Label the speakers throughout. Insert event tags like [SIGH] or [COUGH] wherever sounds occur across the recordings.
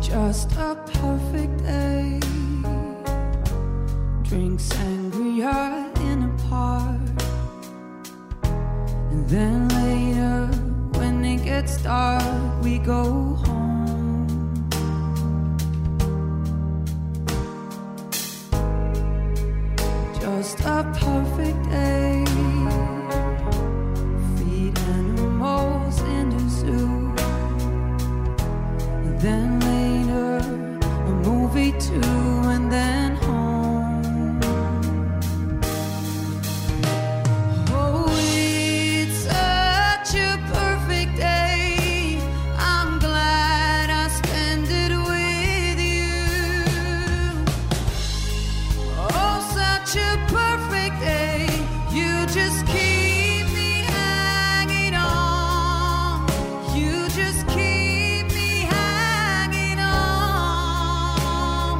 Speaker 1: Just a perfect day. Drink sangria in a park. And then later, when it gets dark, we go home. Just a perfect day. Feed animals in the zoo. And then later a movie too and then home oh it's such a perfect day i'm glad i spend it with you Oh, such a perfect day. You just keep me hanging on. You just keep me hanging on.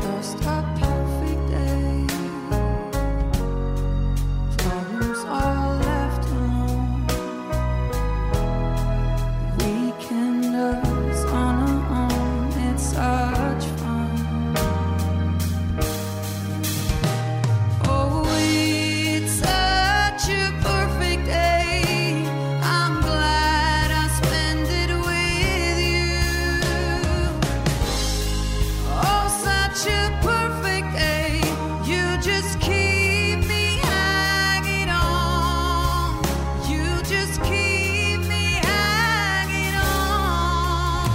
Speaker 1: Just a perfect day. Problems all left alone. Weekenders on our own, it's such fun. Oh, it's such a perfect day. I'm glad I spend it with you. Oh, such a perfect day. You just keep me hanging on. You just keep me hanging on.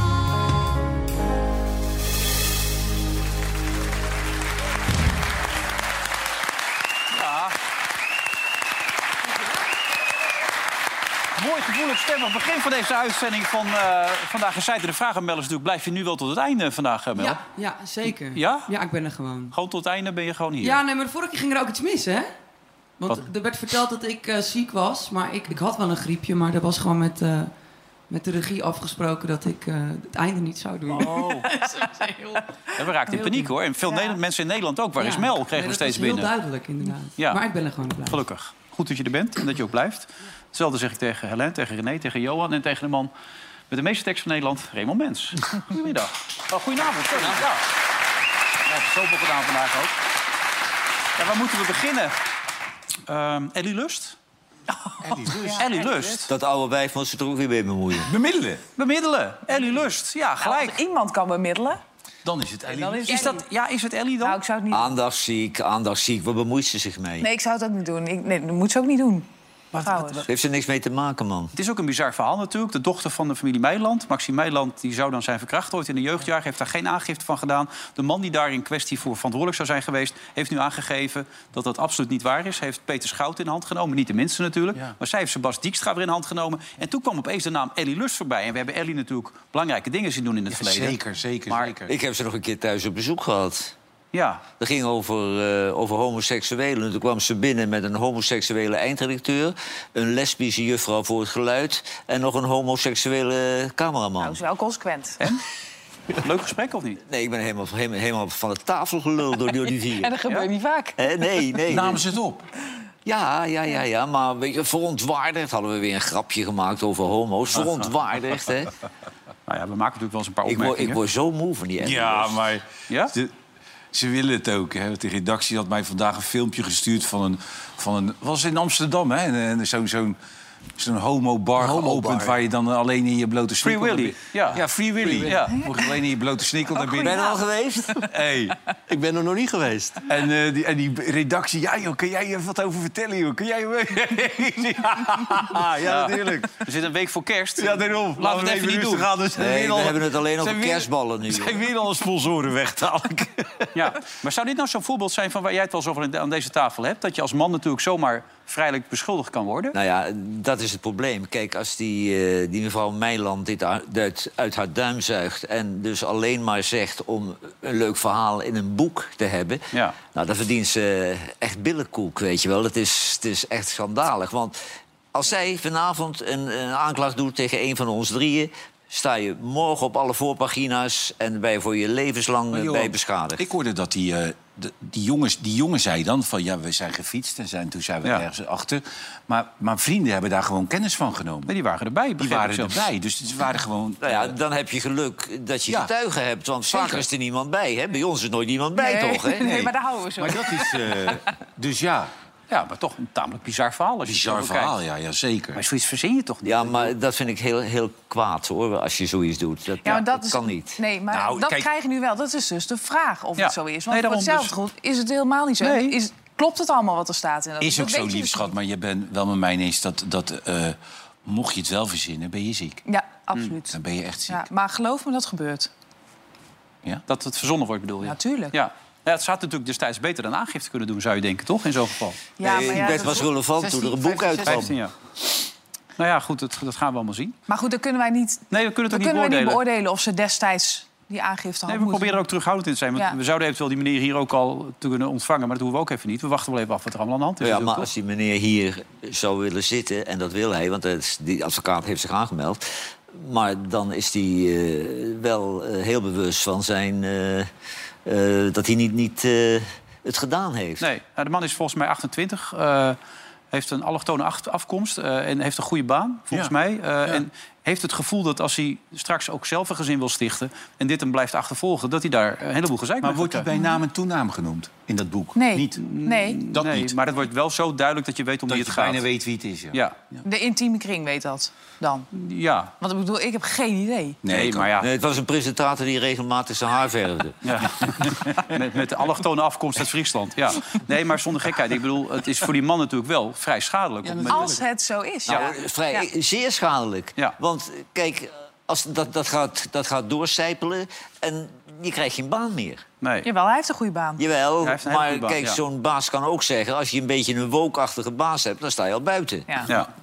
Speaker 2: Mooi gevoelig stemmig begin van deze uitzending van eh, Vandaag is Zijde de Vraag aan Melis natuurlijk. Blijf je nu wel tot het einde vandaag, eh, Mel?
Speaker 3: Ja, ja, zeker.
Speaker 2: Ja?
Speaker 3: Ja, ik ben er gewoon.
Speaker 2: Gewoon tot het einde ben je gewoon hier.
Speaker 3: Ja, nee, maar de vorige keer ging er ook iets mis, hè? Want
Speaker 2: Wat?
Speaker 3: er werd verteld dat ik eh, ziek was, maar ik, ik had wel een griepje, maar dat was gewoon met, eh, met de regie afgesproken dat ik eh, het einde niet zou doen.
Speaker 2: Oh. Ja, we raakten in
Speaker 3: Heel
Speaker 2: paniek
Speaker 3: goed.
Speaker 2: hoor. En veel Nederland- mensen in Nederland ook. Waar
Speaker 3: Ja.
Speaker 2: is Mel? Kregen
Speaker 3: Nee,
Speaker 2: we
Speaker 3: dat
Speaker 2: steeds
Speaker 3: was
Speaker 2: binnen.
Speaker 3: Heel duidelijk, inderdaad.
Speaker 2: Ja.
Speaker 3: Maar ik ben er gewoon blij.
Speaker 2: Gelukkig. Goed dat je er bent en dat je ook blijft. Hetzelfde zeg ik tegen Helen, tegen René, tegen Johan en tegen de man met de meeste tekst van Nederland, Raymond
Speaker 3: [LAUGHS]
Speaker 2: Mens. Goedemiddag. Oh, goedenavond. Sorry. Ja. Ja, zoveel gedaan vandaag ook. Ja, waar moeten we beginnen? Ehm Ellie Lust? Ellie Lust. Ellie Lust.
Speaker 4: Dat oude wijf van ze er ook weer mee bemoeien.
Speaker 5: Bemiddelen.
Speaker 2: Bemiddelen. Ellie Lust. Ja,
Speaker 6: Als
Speaker 2: gelijk.
Speaker 6: iemand kan bemiddelen,
Speaker 5: Dan is het
Speaker 6: dan
Speaker 5: eigenlijk.
Speaker 6: is,
Speaker 2: Is, dat, ja, is het Ellie dan?
Speaker 6: Nou, ik zou het niet
Speaker 4: Ah. Aandachtsziek, aandachtsziek. Waar bemoeit ze zich mee?
Speaker 6: Nee, ik zou het ook niet doen. Ik, nee, dat moet ze ook niet doen. Trouwens.
Speaker 4: Daar heeft ze niks mee te maken, man.
Speaker 2: Het is ook een bizar verhaal natuurlijk. De dochter van de familie Meiland, Maxime Meiland, die zou dan zijn verkracht ooit in de jeugdjaar, heeft daar geen aangifte van gedaan. De man die daar in kwestie voor verantwoordelijk zou zijn geweest, heeft nu aangegeven dat dat absoluut niet waar is. Heeft Peter Schout in de hand genomen, niet de minste natuurlijk,
Speaker 5: Ja.
Speaker 2: maar zij heeft Sebas Dijkstra weer in de hand genomen. En toen kwam opeens de naam Ellie Lust voorbij. En we hebben Ellie natuurlijk belangrijke dingen zien doen in het verleden.
Speaker 5: Zeker, zeker,
Speaker 2: Maar-
Speaker 5: zeker.
Speaker 4: Ik heb ze nog een keer thuis op bezoek gehad.
Speaker 2: Ja,
Speaker 4: Dat ging over, eh, over homoseksuelen. En toen kwam ze binnen met een homoseksuele eindredacteur... een lesbische juffrouw voor het geluid... en nog een homoseksuele cameraman.
Speaker 6: Nou, ze is wel
Speaker 2: [LAUGHS]
Speaker 6: consequent.
Speaker 2: leuk gesprek of niet?
Speaker 4: Nee, ik ben helemaal, helemaal, helemaal van de tafel geluld door die
Speaker 5: [LAUGHS]
Speaker 6: En
Speaker 4: vier.
Speaker 6: dat gebeurt niet vaak.
Speaker 4: Hè, nee, nee.
Speaker 5: Namen ze het op.
Speaker 4: Ja, ja, ja, ja. Maar weet je, verontwaardigd hadden we weer een grapje gemaakt over
Speaker 5: [LAUGHS]
Speaker 4: homo's. Verontwaardigd, hè?
Speaker 2: Nou ja, we maken natuurlijk wel eens een paar
Speaker 4: Ik word,
Speaker 2: opmerkingen.
Speaker 4: ik word zo moe van die Emily
Speaker 5: Ja,
Speaker 4: Lust.
Speaker 5: maar
Speaker 2: Ja?
Speaker 5: ze, ze willen het ook. Hè. De redactie had mij vandaag een filmpje gestuurd van een... Van een was in Amsterdam, hè? en, en Zo'n zo'n zo'n homo-bar
Speaker 7: Een homobar,
Speaker 5: geopend...
Speaker 7: ja.
Speaker 5: waar je dan alleen in je blote sneakel...
Speaker 2: Willy,
Speaker 5: naar binnen-
Speaker 2: ja.
Speaker 5: ja, Free Willy.
Speaker 2: Free
Speaker 5: ja.
Speaker 2: Willy.
Speaker 5: Mocht je alleen in je blote sneakel naar binnen.
Speaker 4: Ben je er al geweest?
Speaker 5: Hey.
Speaker 7: [LAUGHS] Ik ben er nog niet geweest.
Speaker 5: En, eh, die, en die redactie, ja joh, kun jij er wat over vertellen joh? Kun jij... [LAUGHS] ja, ja, natuurlijk.
Speaker 2: We zitten een week voor kerst.
Speaker 5: Ja, daarom.
Speaker 2: Laten we het even niet doen.
Speaker 5: Gaan. Dus
Speaker 4: Nee, we hebben het alleen over kerstballen
Speaker 5: [LAUGHS]
Speaker 4: nu.
Speaker 5: zijn weer al sponsoren weg, dadelijk.
Speaker 2: [LAUGHS] Ja. Maar zou dit nou zo'n voorbeeld zijn van waar jij het wel eens over aan deze tafel hebt? Dat je als man natuurlijk zomaar vrijelijk beschuldigd kan worden?
Speaker 4: Nou ja, dat is het probleem. Kijk, als die, eh, die mevrouw Meiland dit a- uit, uit haar duim zuigt... en dus alleen maar zegt om een leuk verhaal in een boek te hebben...
Speaker 2: Ja.
Speaker 4: nou, dan verdient ze echt billenkoek, weet je wel. Het is, het is echt schandalig. Want als zij vanavond een, een aanklacht doet tegen een van ons drieën... sta je morgen op alle voorpagina's en ben je voor je levenslang eh, bij beschadigd.
Speaker 5: Ik hoorde dat die, eh, de- die, jongens, die jongen zei dan van... ja, we zijn gefietst en zijn, toen zijn we
Speaker 2: Ja.
Speaker 5: ergens achter. Maar, maar vrienden hebben daar gewoon kennis van genomen.
Speaker 2: Nee, die waren erbij.
Speaker 5: Die
Speaker 2: begreep ik
Speaker 5: waren
Speaker 2: zelfs.
Speaker 5: erbij, dus ze waren
Speaker 2: [LAUGHS]
Speaker 5: gewoon...
Speaker 4: Nou ja, dan heb je geluk dat je
Speaker 5: Ja.
Speaker 4: getuigen hebt. Want vaak
Speaker 5: Zeker.
Speaker 4: is er niemand bij. Hè? Bij ons is nooit iemand bij,
Speaker 6: nee,
Speaker 4: toch? Hè?
Speaker 6: [LAUGHS] nee, maar daar houden we zo.
Speaker 5: Maar dat is... eh, [LAUGHS] dus ja,
Speaker 2: Ja, maar toch een tamelijk bizar verhaal. Als je het zo
Speaker 5: bizar
Speaker 2: bekijkt.
Speaker 5: verhaal, ja, ja zeker.
Speaker 2: Maar zoiets verzin je toch niet?
Speaker 4: Ja, maar dat vind ik heel, heel kwaad hoor, als je zoiets doet. Dat,
Speaker 6: Ja, maar dat,
Speaker 4: dat
Speaker 6: is-
Speaker 4: kan niet.
Speaker 6: Nee, maar
Speaker 5: Nou,
Speaker 6: dat
Speaker 5: kijk-
Speaker 6: krijg je nu wel. Dat is dus de vraag of
Speaker 2: Ja.
Speaker 6: het zo is.
Speaker 2: Nee,
Speaker 6: Want voor
Speaker 2: daarom
Speaker 6: hetzelfde
Speaker 2: dus-
Speaker 6: goed is het helemaal niet zo.
Speaker 2: Nee.
Speaker 6: Is, klopt het allemaal wat er staat? In dat,
Speaker 5: Is
Speaker 6: dat
Speaker 5: ook zo,
Speaker 6: weet je
Speaker 5: lief
Speaker 6: dus
Speaker 5: schat,
Speaker 6: niet.
Speaker 5: maar je bent wel met mij eens dat... dat eh, mocht je het wel verzinnen, ben je ziek.
Speaker 6: Ja,
Speaker 2: Mm,
Speaker 6: absoluut.
Speaker 5: Dan ben je echt ziek.
Speaker 6: Ja, maar geloof me, dat gebeurt.
Speaker 2: Dat het verzonnen wordt, bedoel je?
Speaker 6: Natuurlijk.
Speaker 2: Ja. Ja, het zou natuurlijk destijds beter dan aangifte kunnen doen, zou je denken, toch? In zo'n geval.
Speaker 6: Ja,
Speaker 4: Nee,
Speaker 6: maar,
Speaker 4: ik
Speaker 6: ja,
Speaker 4: werd
Speaker 6: dat-
Speaker 4: was relevant toen er een boek
Speaker 7: 15,
Speaker 4: uitkwam.
Speaker 2: 15 jaar. Nou ja, goed, dat, dat gaan we allemaal zien.
Speaker 6: maar goed, dat kunnen wij niet,
Speaker 2: Nee, we kunnen
Speaker 6: dat
Speaker 2: het ook niet
Speaker 6: kunnen wij niet
Speaker 2: beoordelen.
Speaker 6: beoordelen of ze destijds die aangifte
Speaker 2: Nee,
Speaker 5: Oh,
Speaker 6: hadden
Speaker 2: we
Speaker 6: moeten
Speaker 2: proberen er ook terughoudend in te zijn. Want
Speaker 6: Ja.
Speaker 2: we zouden eventueel die meneer hier ook al te kunnen ontvangen. Maar dat doen we ook even niet. We wachten wel even af wat er allemaal aan de hand is.
Speaker 4: Ja, maar
Speaker 2: natuurlijk,
Speaker 4: als die meneer hier zou willen zitten, en dat wil hij, want dat is- die advocaat heeft zich aangemeld. Maar dan is hij eh, wel eh, heel bewust van zijn. eh, eh, dat hij niet, niet eh, het gedaan heeft.
Speaker 2: toch? Nee, nou, de man is volgens mij 28. eh, heeft een allochtone acht- afkomst. eh, en heeft een goede baan, volgens
Speaker 5: Ja.
Speaker 2: mij. eh, En heeft het gevoel dat als hij straks ook zelf een gezin wil stichten... en dit hem blijft achtervolgen, dat hij daar een heleboel gezeik
Speaker 5: Maar
Speaker 2: mee
Speaker 5: wordt hij
Speaker 2: gaat
Speaker 5: bij naam en toenaam genoemd in dat boek?
Speaker 6: Nee.
Speaker 5: Niet.
Speaker 6: doen. Nee,
Speaker 5: Dat
Speaker 2: nee,
Speaker 5: niet.
Speaker 2: maar dat wordt wel zo duidelijk dat je weet om
Speaker 5: Dat
Speaker 2: wie
Speaker 5: je
Speaker 2: het gaat.
Speaker 5: bijna weet wie het is, ja.
Speaker 2: Ja,
Speaker 6: de intieme kring weet dat dan.
Speaker 2: ja.
Speaker 6: Want ik bedoel, ik heb geen idee.
Speaker 2: Nee,
Speaker 5: ik
Speaker 2: maar ja.
Speaker 4: Nee, het was een presentator die regelmatig zijn haar verfde.
Speaker 2: Ja. [LAUGHS] met, met de allochtone afkomst uit Friesland. Ja. Nee, maar zonder gekheid. Ik bedoel, het is voor die man natuurlijk wel vrij schadelijk. op het moment-
Speaker 6: Als het zo is, ja.
Speaker 4: Nou, vrij, zeer schadelijk.
Speaker 2: Ja.
Speaker 4: Want eh, kijk, als dat, dat, gaat, dat gaat doorcijpelen en je krijgt geen baan meer.
Speaker 2: Nee.
Speaker 6: Jawel, hij heeft een goede baan.
Speaker 4: Jawel,
Speaker 2: Hij heeft een hele
Speaker 4: maar
Speaker 2: goede baan,
Speaker 4: kijk,
Speaker 2: ja.
Speaker 4: zo'n baas kan ook zeggen... als je een beetje een wookachtige baas hebt, dan sta je al buiten.
Speaker 6: Ja.
Speaker 2: Ja.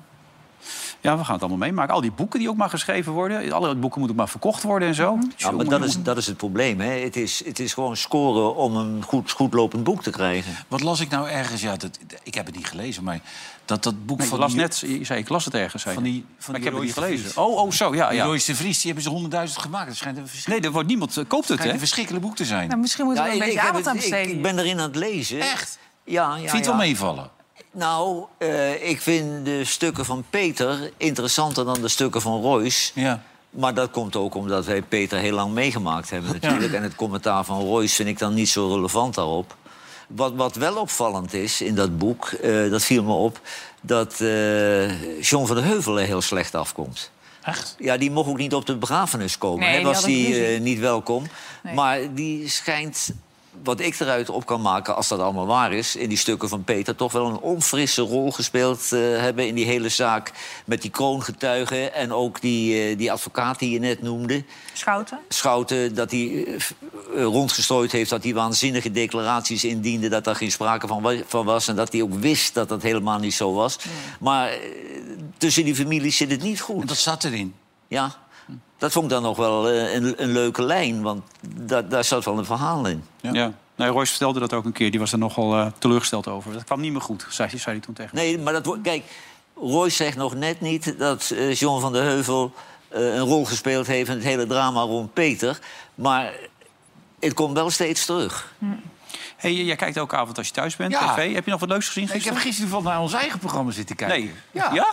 Speaker 2: ja, we gaan het allemaal meemaken. Al die boeken die ook maar geschreven worden. Alle boeken moeten ook maar verkocht worden en zo.
Speaker 4: Ja, maar dat is, dat is het probleem. Hè. Het, is, het is gewoon scoren om een goed, goed lopend boek te krijgen.
Speaker 5: Wat las ik nou ergens? Ja, dat, ik heb het niet gelezen, maar dat dat boek
Speaker 2: Nee, je
Speaker 5: van,
Speaker 2: las
Speaker 5: die,
Speaker 2: net, je zei ik las het ergens. zei
Speaker 5: Van
Speaker 2: je.
Speaker 5: die- van
Speaker 2: maar ik
Speaker 5: die
Speaker 2: heb het niet
Speaker 5: Royce de
Speaker 2: gelezen. Oh, oh, zo, ja.
Speaker 5: die
Speaker 2: ja.
Speaker 5: Royce de Vries, die hebben ze honderdduizend gemaakt. Ah, Dat schijnt een, verschri-
Speaker 2: Nee, er wordt niemand eh, koopt het,
Speaker 5: schijnt
Speaker 2: hè?
Speaker 5: een verschrikkelijk boek te zijn.
Speaker 6: Nou, misschien moeten we
Speaker 4: Ja,
Speaker 6: er een beetje
Speaker 4: heb
Speaker 6: aandacht aan
Speaker 4: het- ik,
Speaker 6: besteden.
Speaker 4: ik ben erin aan het lezen.
Speaker 5: Echt?
Speaker 4: Ja, ja,
Speaker 5: Vind je het
Speaker 4: ja.
Speaker 5: wel meevallen?
Speaker 4: Nou, eh, ik vind de stukken van Peter interessanter dan de stukken van Royce.
Speaker 5: Ja.
Speaker 4: Maar dat komt ook omdat wij Peter heel lang meegemaakt hebben natuurlijk. En het commentaar van Royce vind ik dan niet zo relevant daarop. Wat, wat wel opvallend is in dat boek, eh, dat viel me op... dat eh John van de Heuvel er heel slecht afkomt.
Speaker 5: Echt?
Speaker 4: Ja, die mocht ook niet op de begrafenis komen.
Speaker 6: Nee,
Speaker 4: hè,
Speaker 6: die
Speaker 4: was
Speaker 6: had ook
Speaker 4: die
Speaker 6: ruzie.
Speaker 4: eh, niet welkom.
Speaker 6: Nee.
Speaker 4: Maar die schijnt, wat ik eruit op kan maken... als dat allemaal waar is, in die stukken van Peter... toch wel een onfrisse rol gespeeld eh, hebben in die hele zaak... met die kroongetuigen en ook die, eh, die advocaat die je net noemde...
Speaker 6: Schouten?
Speaker 4: Schouten, dat hij eh, f- eh, rondgestrooid heeft... dat hij waanzinnige declaraties indiende, dat daar geen sprake van, wa- van was... en dat hij ook wist dat dat helemaal niet zo was. Maar eh, tussen die families zit het niet goed.
Speaker 5: En dat zat erin.
Speaker 4: Ja, dat vond ik dan nog wel eh, een, een leuke lijn, want da- daar zat wel een verhaal in.
Speaker 2: Ja. Nee, Royce vertelde dat ook een keer. Die was er nogal eh, teleurgesteld over. Dat kwam niet meer goed, zei, zei hij toen tegen me.
Speaker 4: Nee, maar dat wordt. Kijk, Roy zegt nog net niet dat eh, John van der Heuvel eh, een rol gespeeld heeft in het hele drama rond Peter. Maar het komt wel steeds terug.
Speaker 2: Hey, jij kijkt elke avond als je thuis bent,
Speaker 5: Ja.
Speaker 2: tv. Heb je nog wat leuks gezien
Speaker 5: Ik heb
Speaker 2: gisteren?
Speaker 5: gisteren van naar ons eigen programma zitten kijken.
Speaker 2: Nee.
Speaker 5: Ja,
Speaker 2: Ja?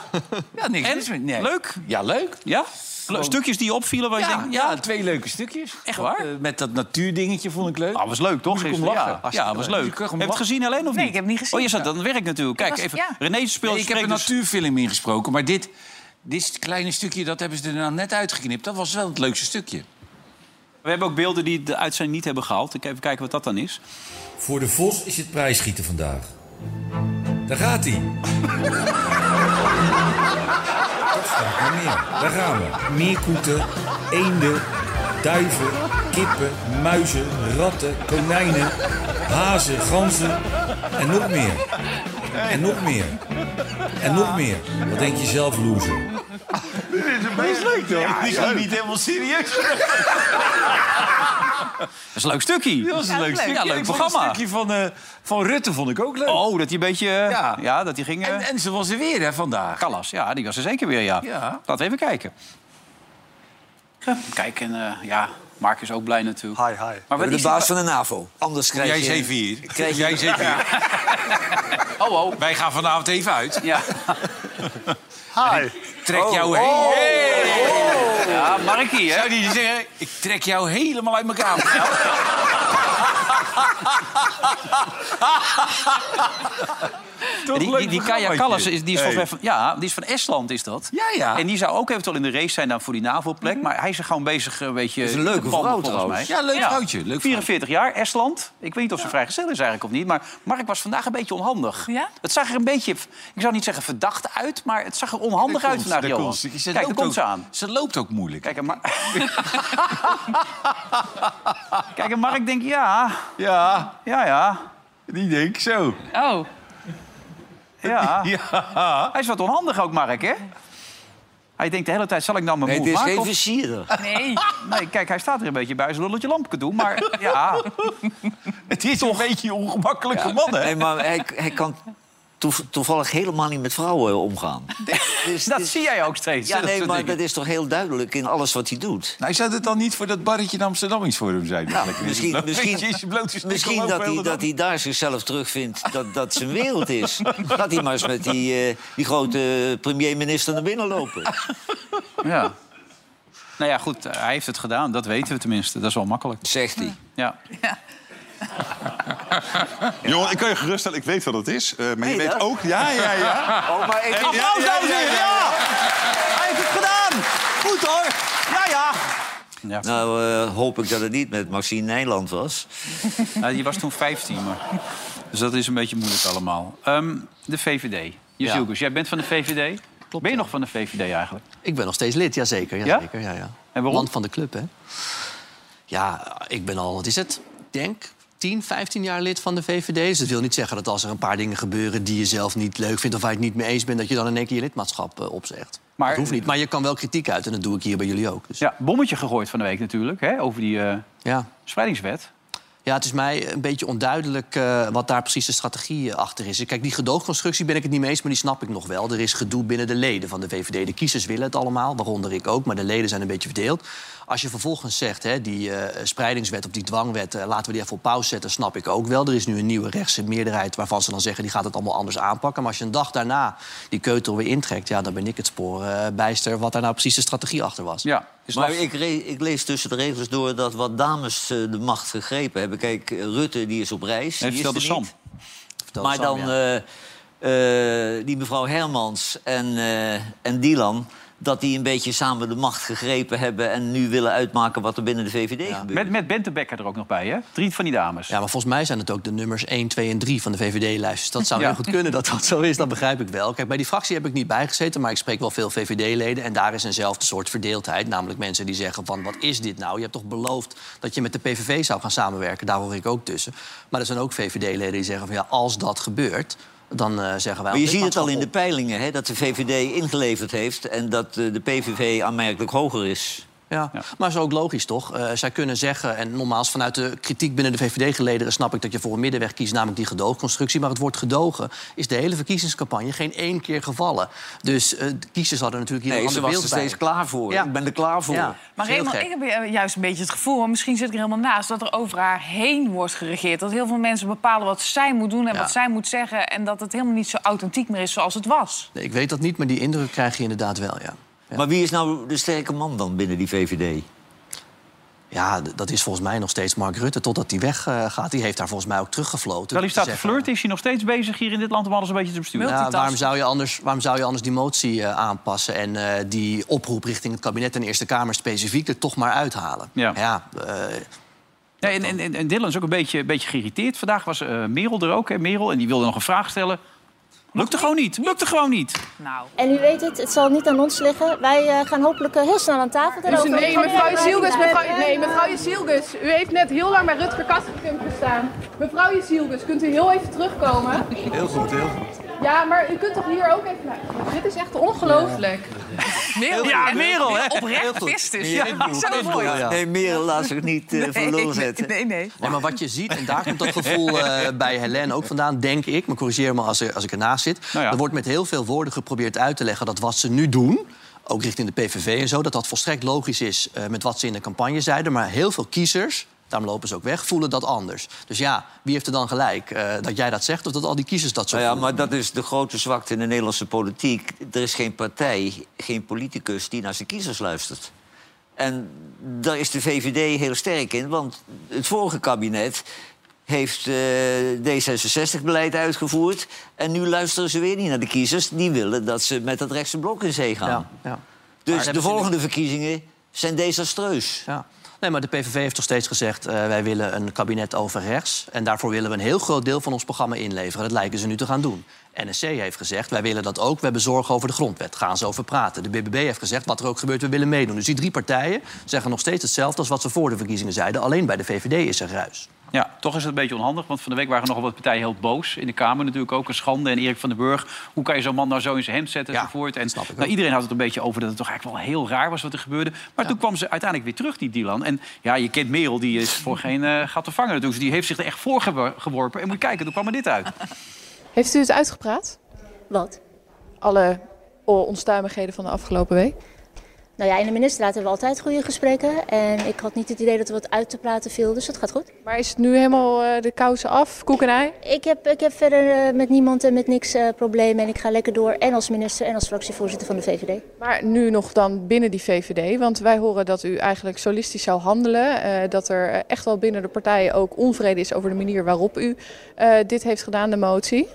Speaker 5: ja niks.
Speaker 2: En?
Speaker 5: mis met- nee.
Speaker 2: Leuk?
Speaker 5: Ja, leuk.
Speaker 2: Ja?
Speaker 5: gewoon-
Speaker 2: Stukjes die je opvielen waar je
Speaker 5: Ja,
Speaker 2: denkt...
Speaker 5: ja, twee leuke stukjes.
Speaker 2: Echt waar?
Speaker 5: Eh, Met dat natuurdingetje vond ik leuk.
Speaker 2: Ah, was leuk, toch?
Speaker 5: Moest ik om
Speaker 2: Gisteren?
Speaker 5: lachen.
Speaker 2: Ja, ja,
Speaker 5: Hartstikke
Speaker 2: was
Speaker 5: leuk.
Speaker 2: leuk.
Speaker 5: Dus ik
Speaker 2: Heb
Speaker 5: kreeg
Speaker 2: je
Speaker 5: hem
Speaker 2: het
Speaker 5: lachen.
Speaker 2: gezien alleen of niet?
Speaker 6: Nee, ik heb het niet gezien.
Speaker 2: Oh, je zat aan het werk natuurlijk. Kijk,
Speaker 6: was-
Speaker 2: even.
Speaker 6: ja.
Speaker 2: René speelt...
Speaker 5: Nee, ik heb
Speaker 2: spreekt
Speaker 5: een
Speaker 2: dus-
Speaker 5: natuurfilm ingesproken, maar dit, dit kleine stukje dat hebben ze er nou net uitgeknipt. Dat was wel het leukste stukje.
Speaker 2: We hebben ook beelden die de uitzending niet hebben gehaald. Ik even kijken wat dat dan is.
Speaker 7: Voor de Vos is het prijsschieten vandaag. Daar gaat hij. Dat staat nog meer. Daar gaan we. Meerkoeten, eenden, duiven, kippen, muizen, ratten, konijnen, hazen, ganzen en nog meer. En nog meer. En nog meer. Wat denk je zelf, loser?
Speaker 5: die is niet helemaal serieus.
Speaker 2: [LAUGHS] Dat is een leuk stukje.
Speaker 5: Dat was een
Speaker 6: Ja,
Speaker 5: leuk
Speaker 6: leuk.
Speaker 5: stukje.
Speaker 6: Ja,
Speaker 2: leuk
Speaker 5: Ik vond
Speaker 2: programma.
Speaker 5: Het stukje van, eh, van Rutte vond ik ook leuk.
Speaker 2: Oh, dat hij een beetje... eh,
Speaker 5: Ja.
Speaker 2: Ja, dat hij ging... eh,
Speaker 5: En, en ze was er weer hè, vandaag.
Speaker 2: Callas, ja, die was er zeker weer, ja.
Speaker 5: Ja.
Speaker 2: Laten we even kijken. Ja, Kijk, en eh, ja, Mark is ook blij natuurlijk.
Speaker 8: Hi, hi.
Speaker 2: Maar wat
Speaker 4: De
Speaker 2: is
Speaker 4: baas
Speaker 2: die-
Speaker 4: van de NAVO. Anders krijg
Speaker 5: Jij
Speaker 4: je...
Speaker 5: is even hier.
Speaker 4: Krijg je-
Speaker 5: Jij is even hier.
Speaker 2: Oh, oh.
Speaker 5: Wij gaan vanavond even uit.
Speaker 2: Ja. [LAUGHS]
Speaker 8: Hi.
Speaker 5: Trek
Speaker 2: Oh.
Speaker 5: jou heen. Hey.
Speaker 2: ja, Ah, Markie, hè?
Speaker 5: Zou die zeggen, ik trek jou helemaal uit elkaar. [LAUGHS] Toch
Speaker 2: Die,
Speaker 5: leuk
Speaker 2: die, die
Speaker 5: programmaatje.
Speaker 2: Kaja Kallas, is, die, is volgens mij
Speaker 5: Hey.
Speaker 2: van, ja, die is van Estland, is dat?
Speaker 5: Ja, Mhm. ja.
Speaker 2: En die zou ook eventueel in de race zijn dan voor die NAVO-plek. Maar hij is er gewoon bezig eh, een beetje...
Speaker 4: is een
Speaker 2: te
Speaker 4: leuke
Speaker 2: banden,
Speaker 4: vrouw
Speaker 2: volgens
Speaker 4: trouwens.
Speaker 2: mij.
Speaker 5: Ja, leuk vrouwtje, leuk
Speaker 2: 44 jaar, Estland. Ik weet niet of ze vrijgezel is eigenlijk of niet. Maar Mark was vandaag een beetje onhandig.
Speaker 6: Ja?
Speaker 2: Het zag er een beetje, ik zou niet zeggen verdacht uit... maar het zag er onhandig uit vandaag,
Speaker 5: Daar
Speaker 2: Johan.
Speaker 5: komt ze. Ze
Speaker 2: Kijk, daar
Speaker 5: loopt
Speaker 2: komt
Speaker 5: ook-
Speaker 2: ze aan.
Speaker 5: Ze loopt ook moeilijk.
Speaker 2: Kijk, en, Mar- [LAUGHS] Kijk, en Mark denkt, ja,
Speaker 5: Ja,
Speaker 2: ja, ja,
Speaker 5: die denk ik zo.
Speaker 4: [LAUGHS]
Speaker 6: Oh.
Speaker 2: ja.
Speaker 5: Ja.
Speaker 2: Hij is wat onhandig ook, Mark, hè? Hij denkt de hele tijd, zal ik nou mijn
Speaker 4: Nee, het
Speaker 2: move
Speaker 4: is
Speaker 2: maken?
Speaker 4: geen
Speaker 2: of-
Speaker 4: versierder.
Speaker 6: [LAUGHS] Nee.
Speaker 2: Nee, kijk, hij staat er een beetje bij zijn lulletje lampje doen. Maar
Speaker 4: [LAUGHS]
Speaker 2: ja,
Speaker 5: Het is toch een beetje een ongemakkelijke man, hè?
Speaker 4: Nee, maar hij, hij kan toev- toevallig helemaal niet met vrouwen omgaan. Dus-
Speaker 2: dat
Speaker 4: dus-
Speaker 2: zie jij ook steeds.
Speaker 4: Ja,
Speaker 2: Dat
Speaker 4: nee,
Speaker 2: soort
Speaker 4: maar
Speaker 2: dingen.
Speaker 4: dat is toch heel duidelijk in alles wat hij doet.
Speaker 5: Nou, zou het dan niet voor dat barretje in Amsterdam iets voor hem zijn?
Speaker 4: Nou, misschien misschien, misschien dat, hij, dat hij daar zichzelf terugvindt dat dat zijn wereld is. Gaat hij maar eens met die, eh, die grote premier-minister naar binnen lopen.
Speaker 2: Ja. Nou ja, goed, hij heeft het gedaan. Dat weten we tenminste. Dat is wel makkelijk.
Speaker 4: Zegt hij.
Speaker 2: Ja.
Speaker 9: Jongen, ik kan je geruststellen, ik weet wat het is. eh, maar je
Speaker 4: Nee,
Speaker 9: weet
Speaker 4: dat-
Speaker 9: ook... Ja, ja, ja.
Speaker 4: Oh, maar ik...
Speaker 9: Applaus, dames en heren, ja.
Speaker 2: Hij heeft het gedaan! Goed hoor! Ja, ja!
Speaker 4: Nou, eh, hoop ik dat het niet met Maxine Nijland was.
Speaker 2: Nou, die was toen 15, maar... Dus dat is een beetje moeilijk allemaal. Ehm, de VVD. Jezielkus, jij bent van de VVD?
Speaker 8: Klopt,
Speaker 2: ben je
Speaker 8: ja.
Speaker 2: nog van de VVD eigenlijk?
Speaker 8: Ik ben nog steeds lid, jazeker.
Speaker 2: Ja?
Speaker 8: jazeker ja, ja.
Speaker 2: En waarom?
Speaker 8: Land van de club, hè? Ja, ik ben al, wat is het? Ik denk 10, 15 jaar lid van de VVD. Dus dat wil niet zeggen dat als er een paar dingen gebeuren die je zelf niet leuk vindt of waar je het niet mee eens bent, dat je dan in één keer je lidmaatschap eh, opzegt.
Speaker 2: Maar-
Speaker 8: Maar, dat hoeft niet. Maar je kan wel kritiek uit en dat doe ik hier bij jullie ook. Dus, ja.
Speaker 2: Ja, bommetje gegooid van de week natuurlijk, hè, over die eh,
Speaker 8: Ja.
Speaker 2: spreidingswet.
Speaker 8: het is mij een beetje onduidelijk eh, wat daar precies de strategie eh, achter is. Kijk, die gedoogconstructie ben ik het niet mee eens, maar die snap ik nog wel. Er is gedoe binnen de leden van de VVD. De kiezers willen het allemaal, waaronder ik ook, maar de leden zijn een beetje verdeeld. Als je vervolgens zegt, hè, die eh, spreidingswet of die dwangwet, eh, laten we die even op pauze zetten, snap ik ook wel. Er is nu een nieuwe rechtse meerderheid waarvan ze dan zeggen, die gaat het allemaal anders aanpakken. Maar als je een dag daarna die keutel weer intrekt, ja, dan ben ik het spoor eh, bijster wat daar nou precies de strategie achter was.
Speaker 2: Ja, is
Speaker 4: Maar
Speaker 2: last-
Speaker 4: ik, re- ik lees tussen de regels door dat wat dames eh, de macht gegrepen hebben. Kijk, eh, Rutte die is op reis.
Speaker 2: Heeft
Speaker 4: die is
Speaker 2: vertelde
Speaker 4: er
Speaker 2: Sam.
Speaker 4: niet.
Speaker 8: Vertelde
Speaker 4: Maar
Speaker 8: Sam,
Speaker 4: dan
Speaker 8: ja.
Speaker 4: eh, eh, die mevrouw Hermans en, eh, en Dylan... dat die een beetje samen de macht gegrepen hebben... en nu willen uitmaken wat er binnen de VVD gebeurt.
Speaker 2: Met, met Bente Becker er ook nog bij, hè? Drie van die dames.
Speaker 8: Ja, maar volgens mij zijn het ook de nummers 1, 2 en 3 van de VVD-lijst. Dus
Speaker 2: [LAUGHS]
Speaker 8: dat zou
Speaker 2: Ja.
Speaker 8: heel goed kunnen dat dat zo is, dat begrijp ik wel. Kijk, bij die fractie heb ik niet bijgezeten, maar ik spreek wel veel VVD-leden. En daar is eenzelfde soort verdeeldheid. Namelijk mensen die zeggen van, wat is dit nou? Je hebt toch beloofd dat je met de PVV zou gaan samenwerken? Daar hoor ik ook tussen. Maar er zijn ook VVD-leden die zeggen van, ja, als dat gebeurt... dan eh, zeggen wij...
Speaker 4: Maar je
Speaker 8: ons
Speaker 4: ziet het al in de
Speaker 8: lidmaatschap
Speaker 4: peilingen, hè, dat de VVD ingeleverd heeft... en dat eh, de PVV aanmerkelijk hoger is.
Speaker 8: Ja. maar is ook logisch, toch? Eh, zij kunnen zeggen, en nogmaals vanuit de kritiek binnen de VVD-gelederen... snap ik dat je voor een middenweg kiest, namelijk die gedoogconstructie. Maar het woord gedogen is de hele verkiezingscampagne geen één keer gevallen. Dus eh, de kiezers hadden natuurlijk hier
Speaker 4: Nee,
Speaker 8: een
Speaker 4: ze
Speaker 8: ander
Speaker 4: was
Speaker 8: beeld
Speaker 4: er
Speaker 8: bij.
Speaker 4: steeds klaar voor.
Speaker 8: Ja.
Speaker 4: Ik ben er klaar voor.
Speaker 8: Ja. Dat
Speaker 6: Maar
Speaker 8: is heel
Speaker 6: Raymond,
Speaker 8: gek.
Speaker 6: ik heb eh, juist een beetje het gevoel, maar misschien zit ik er helemaal naast... dat er over haar heen wordt geregeerd. Dat heel veel mensen bepalen wat zij moet doen en
Speaker 8: Ja.
Speaker 6: wat zij moet zeggen... en dat het helemaal niet zo authentiek meer is zoals het was.
Speaker 8: Nee, ik weet dat niet, maar die indruk krijg je inderdaad wel, ja.
Speaker 4: Maar wie is nou de sterke man dan binnen die VVD?
Speaker 8: Ja, d- dat is volgens mij nog steeds Mark Rutte. Totdat hij weggaat. die heeft daar volgens mij ook teruggefloten.
Speaker 2: Terwijl hij
Speaker 8: Te
Speaker 2: staat te
Speaker 8: zeggen-
Speaker 2: flirten, is hij nog steeds bezig hier in dit land om alles een beetje te besturen.
Speaker 8: Ja, waarom, zou je anders, waarom zou je anders die motie eh, aanpassen en eh, die oproep richting het kabinet en de Eerste Kamer specifiek er toch maar uithalen?
Speaker 2: Ja.
Speaker 8: eh,
Speaker 2: Ja, en, en, en- en Dylan is ook een beetje, een beetje geïrriteerd. Vandaag was eh, Merel er ook, hè, Merel. En die wilde nog een vraag stellen. Lukte gewoon niet, lukte gewoon niet.
Speaker 6: Nou,
Speaker 10: En u weet het, het zal niet aan ons liggen. Wij eh, gaan hopelijk eh, heel snel aan tafel erover.
Speaker 1: Nee, mevrouw Zielgus, mevrouw, nee, mevrouw Jezielgus, u heeft net heel lang bij Rutger Kastrikum gestaan. Mevrouw Jezielgus, kunt u heel even terugkomen?
Speaker 5: Heel goed, heel goed.
Speaker 1: Ja, maar u kunt toch hier ook even naar... Dit is echt ongelooflijk.
Speaker 6: Merel,
Speaker 2: Ja,
Speaker 6: hè?
Speaker 2: Merel, hè?
Speaker 6: Oprecht vist is. Ja, zo mooi.
Speaker 8: ja.
Speaker 4: Nee, Merel laat zich niet eh van lul zetten.
Speaker 6: Nee, nee.
Speaker 8: Ja, maar wat je ziet, en daar komt dat
Speaker 2: [LAUGHS]
Speaker 8: gevoel eh, bij Helen ook vandaan, denk ik. Maar corrigeer me als, er- als ik ernaast zit.
Speaker 2: Nou ja.
Speaker 8: Er wordt met heel veel woorden geprobeerd uit te leggen dat wat ze nu doen, ook richting de PVV en zo, dat dat volstrekt logisch is eh, met wat ze in de campagne zeiden. Maar heel veel kiezers. Daarom lopen ze ook weg, voelen dat anders. Dus ja, wie heeft er dan gelijk? Eh, dat jij dat zegt of dat al die kiezers dat zo
Speaker 4: Nou ja,
Speaker 8: voelen?
Speaker 4: maar dat is de grote zwakte in de Nederlandse politiek. Er is geen partij, geen politicus die naar zijn kiezers luistert. En daar is de VVD heel sterk in, want het vorige kabinet heeft eh, D66-beleid uitgevoerd. En nu luisteren ze weer niet naar de kiezers. Die willen dat ze met dat rechtse blok in zee gaan.
Speaker 8: Ja, ja. Maar
Speaker 4: Dus
Speaker 8: hebben
Speaker 4: de
Speaker 8: ze
Speaker 4: volgende verkiezingen zijn desastreus.
Speaker 8: Ja. Nee, maar de PVV heeft toch steeds gezegd... eh, wij willen een kabinet over rechts. En daarvoor willen we een heel groot deel van ons programma inleveren. Dat lijken ze nu te gaan doen. NSC heeft gezegd, wij willen dat ook. We hebben zorgen over de grondwet. Gaan ze over praten. De BBB heeft gezegd, wat er ook gebeurt, we willen meedoen. Dus die drie partijen zeggen nog steeds hetzelfde... als wat ze voor de verkiezingen zeiden. Alleen bij de VVD is er ruis.
Speaker 2: Ja, toch is het een beetje onhandig. Want van de week waren nogal wat partijen heel boos. In de Kamer natuurlijk ook een schande. En Erik van den Burg, hoe kan je zo'n man nou zo in zijn hemd zetten
Speaker 8: Ja,
Speaker 2: enzovoort. En
Speaker 8: snap ik
Speaker 2: nou,
Speaker 8: ook.
Speaker 2: iedereen had het een beetje over dat het toch eigenlijk wel heel raar was wat er gebeurde. Maar toen kwam ze uiteindelijk weer terug, die Dylan. En ja, je kent Merel, die is [LAUGHS] voor geen eh, gat te vangen natuurlijk. Dus die heeft zich er echt voor gewor- geworpen. En moet je kijken, toen kwam er dit uit.
Speaker 1: Heeft u het uitgepraat?
Speaker 10: Wat?
Speaker 1: Alle onstuimigheden van de afgelopen week?
Speaker 10: Nou ja, in de ministerraad hebben we altijd goede gesprekken. En ik had niet het idee dat er wat uit te praten viel, dus dat gaat goed.
Speaker 1: Maar is het nu helemaal eh, de kousen af, koek en ei?
Speaker 10: Ik heb, ik heb verder eh, met niemand en met niks eh, problemen. En ik ga lekker door, en als minister en als fractievoorzitter van de VVD.
Speaker 1: Maar nu nog dan binnen die VVD, want wij horen dat u eigenlijk solistisch zou handelen. eh, dat er eh, echt wel binnen de partijen ook onvrede is over de manier waarop u eh, dit heeft gedaan, de motie.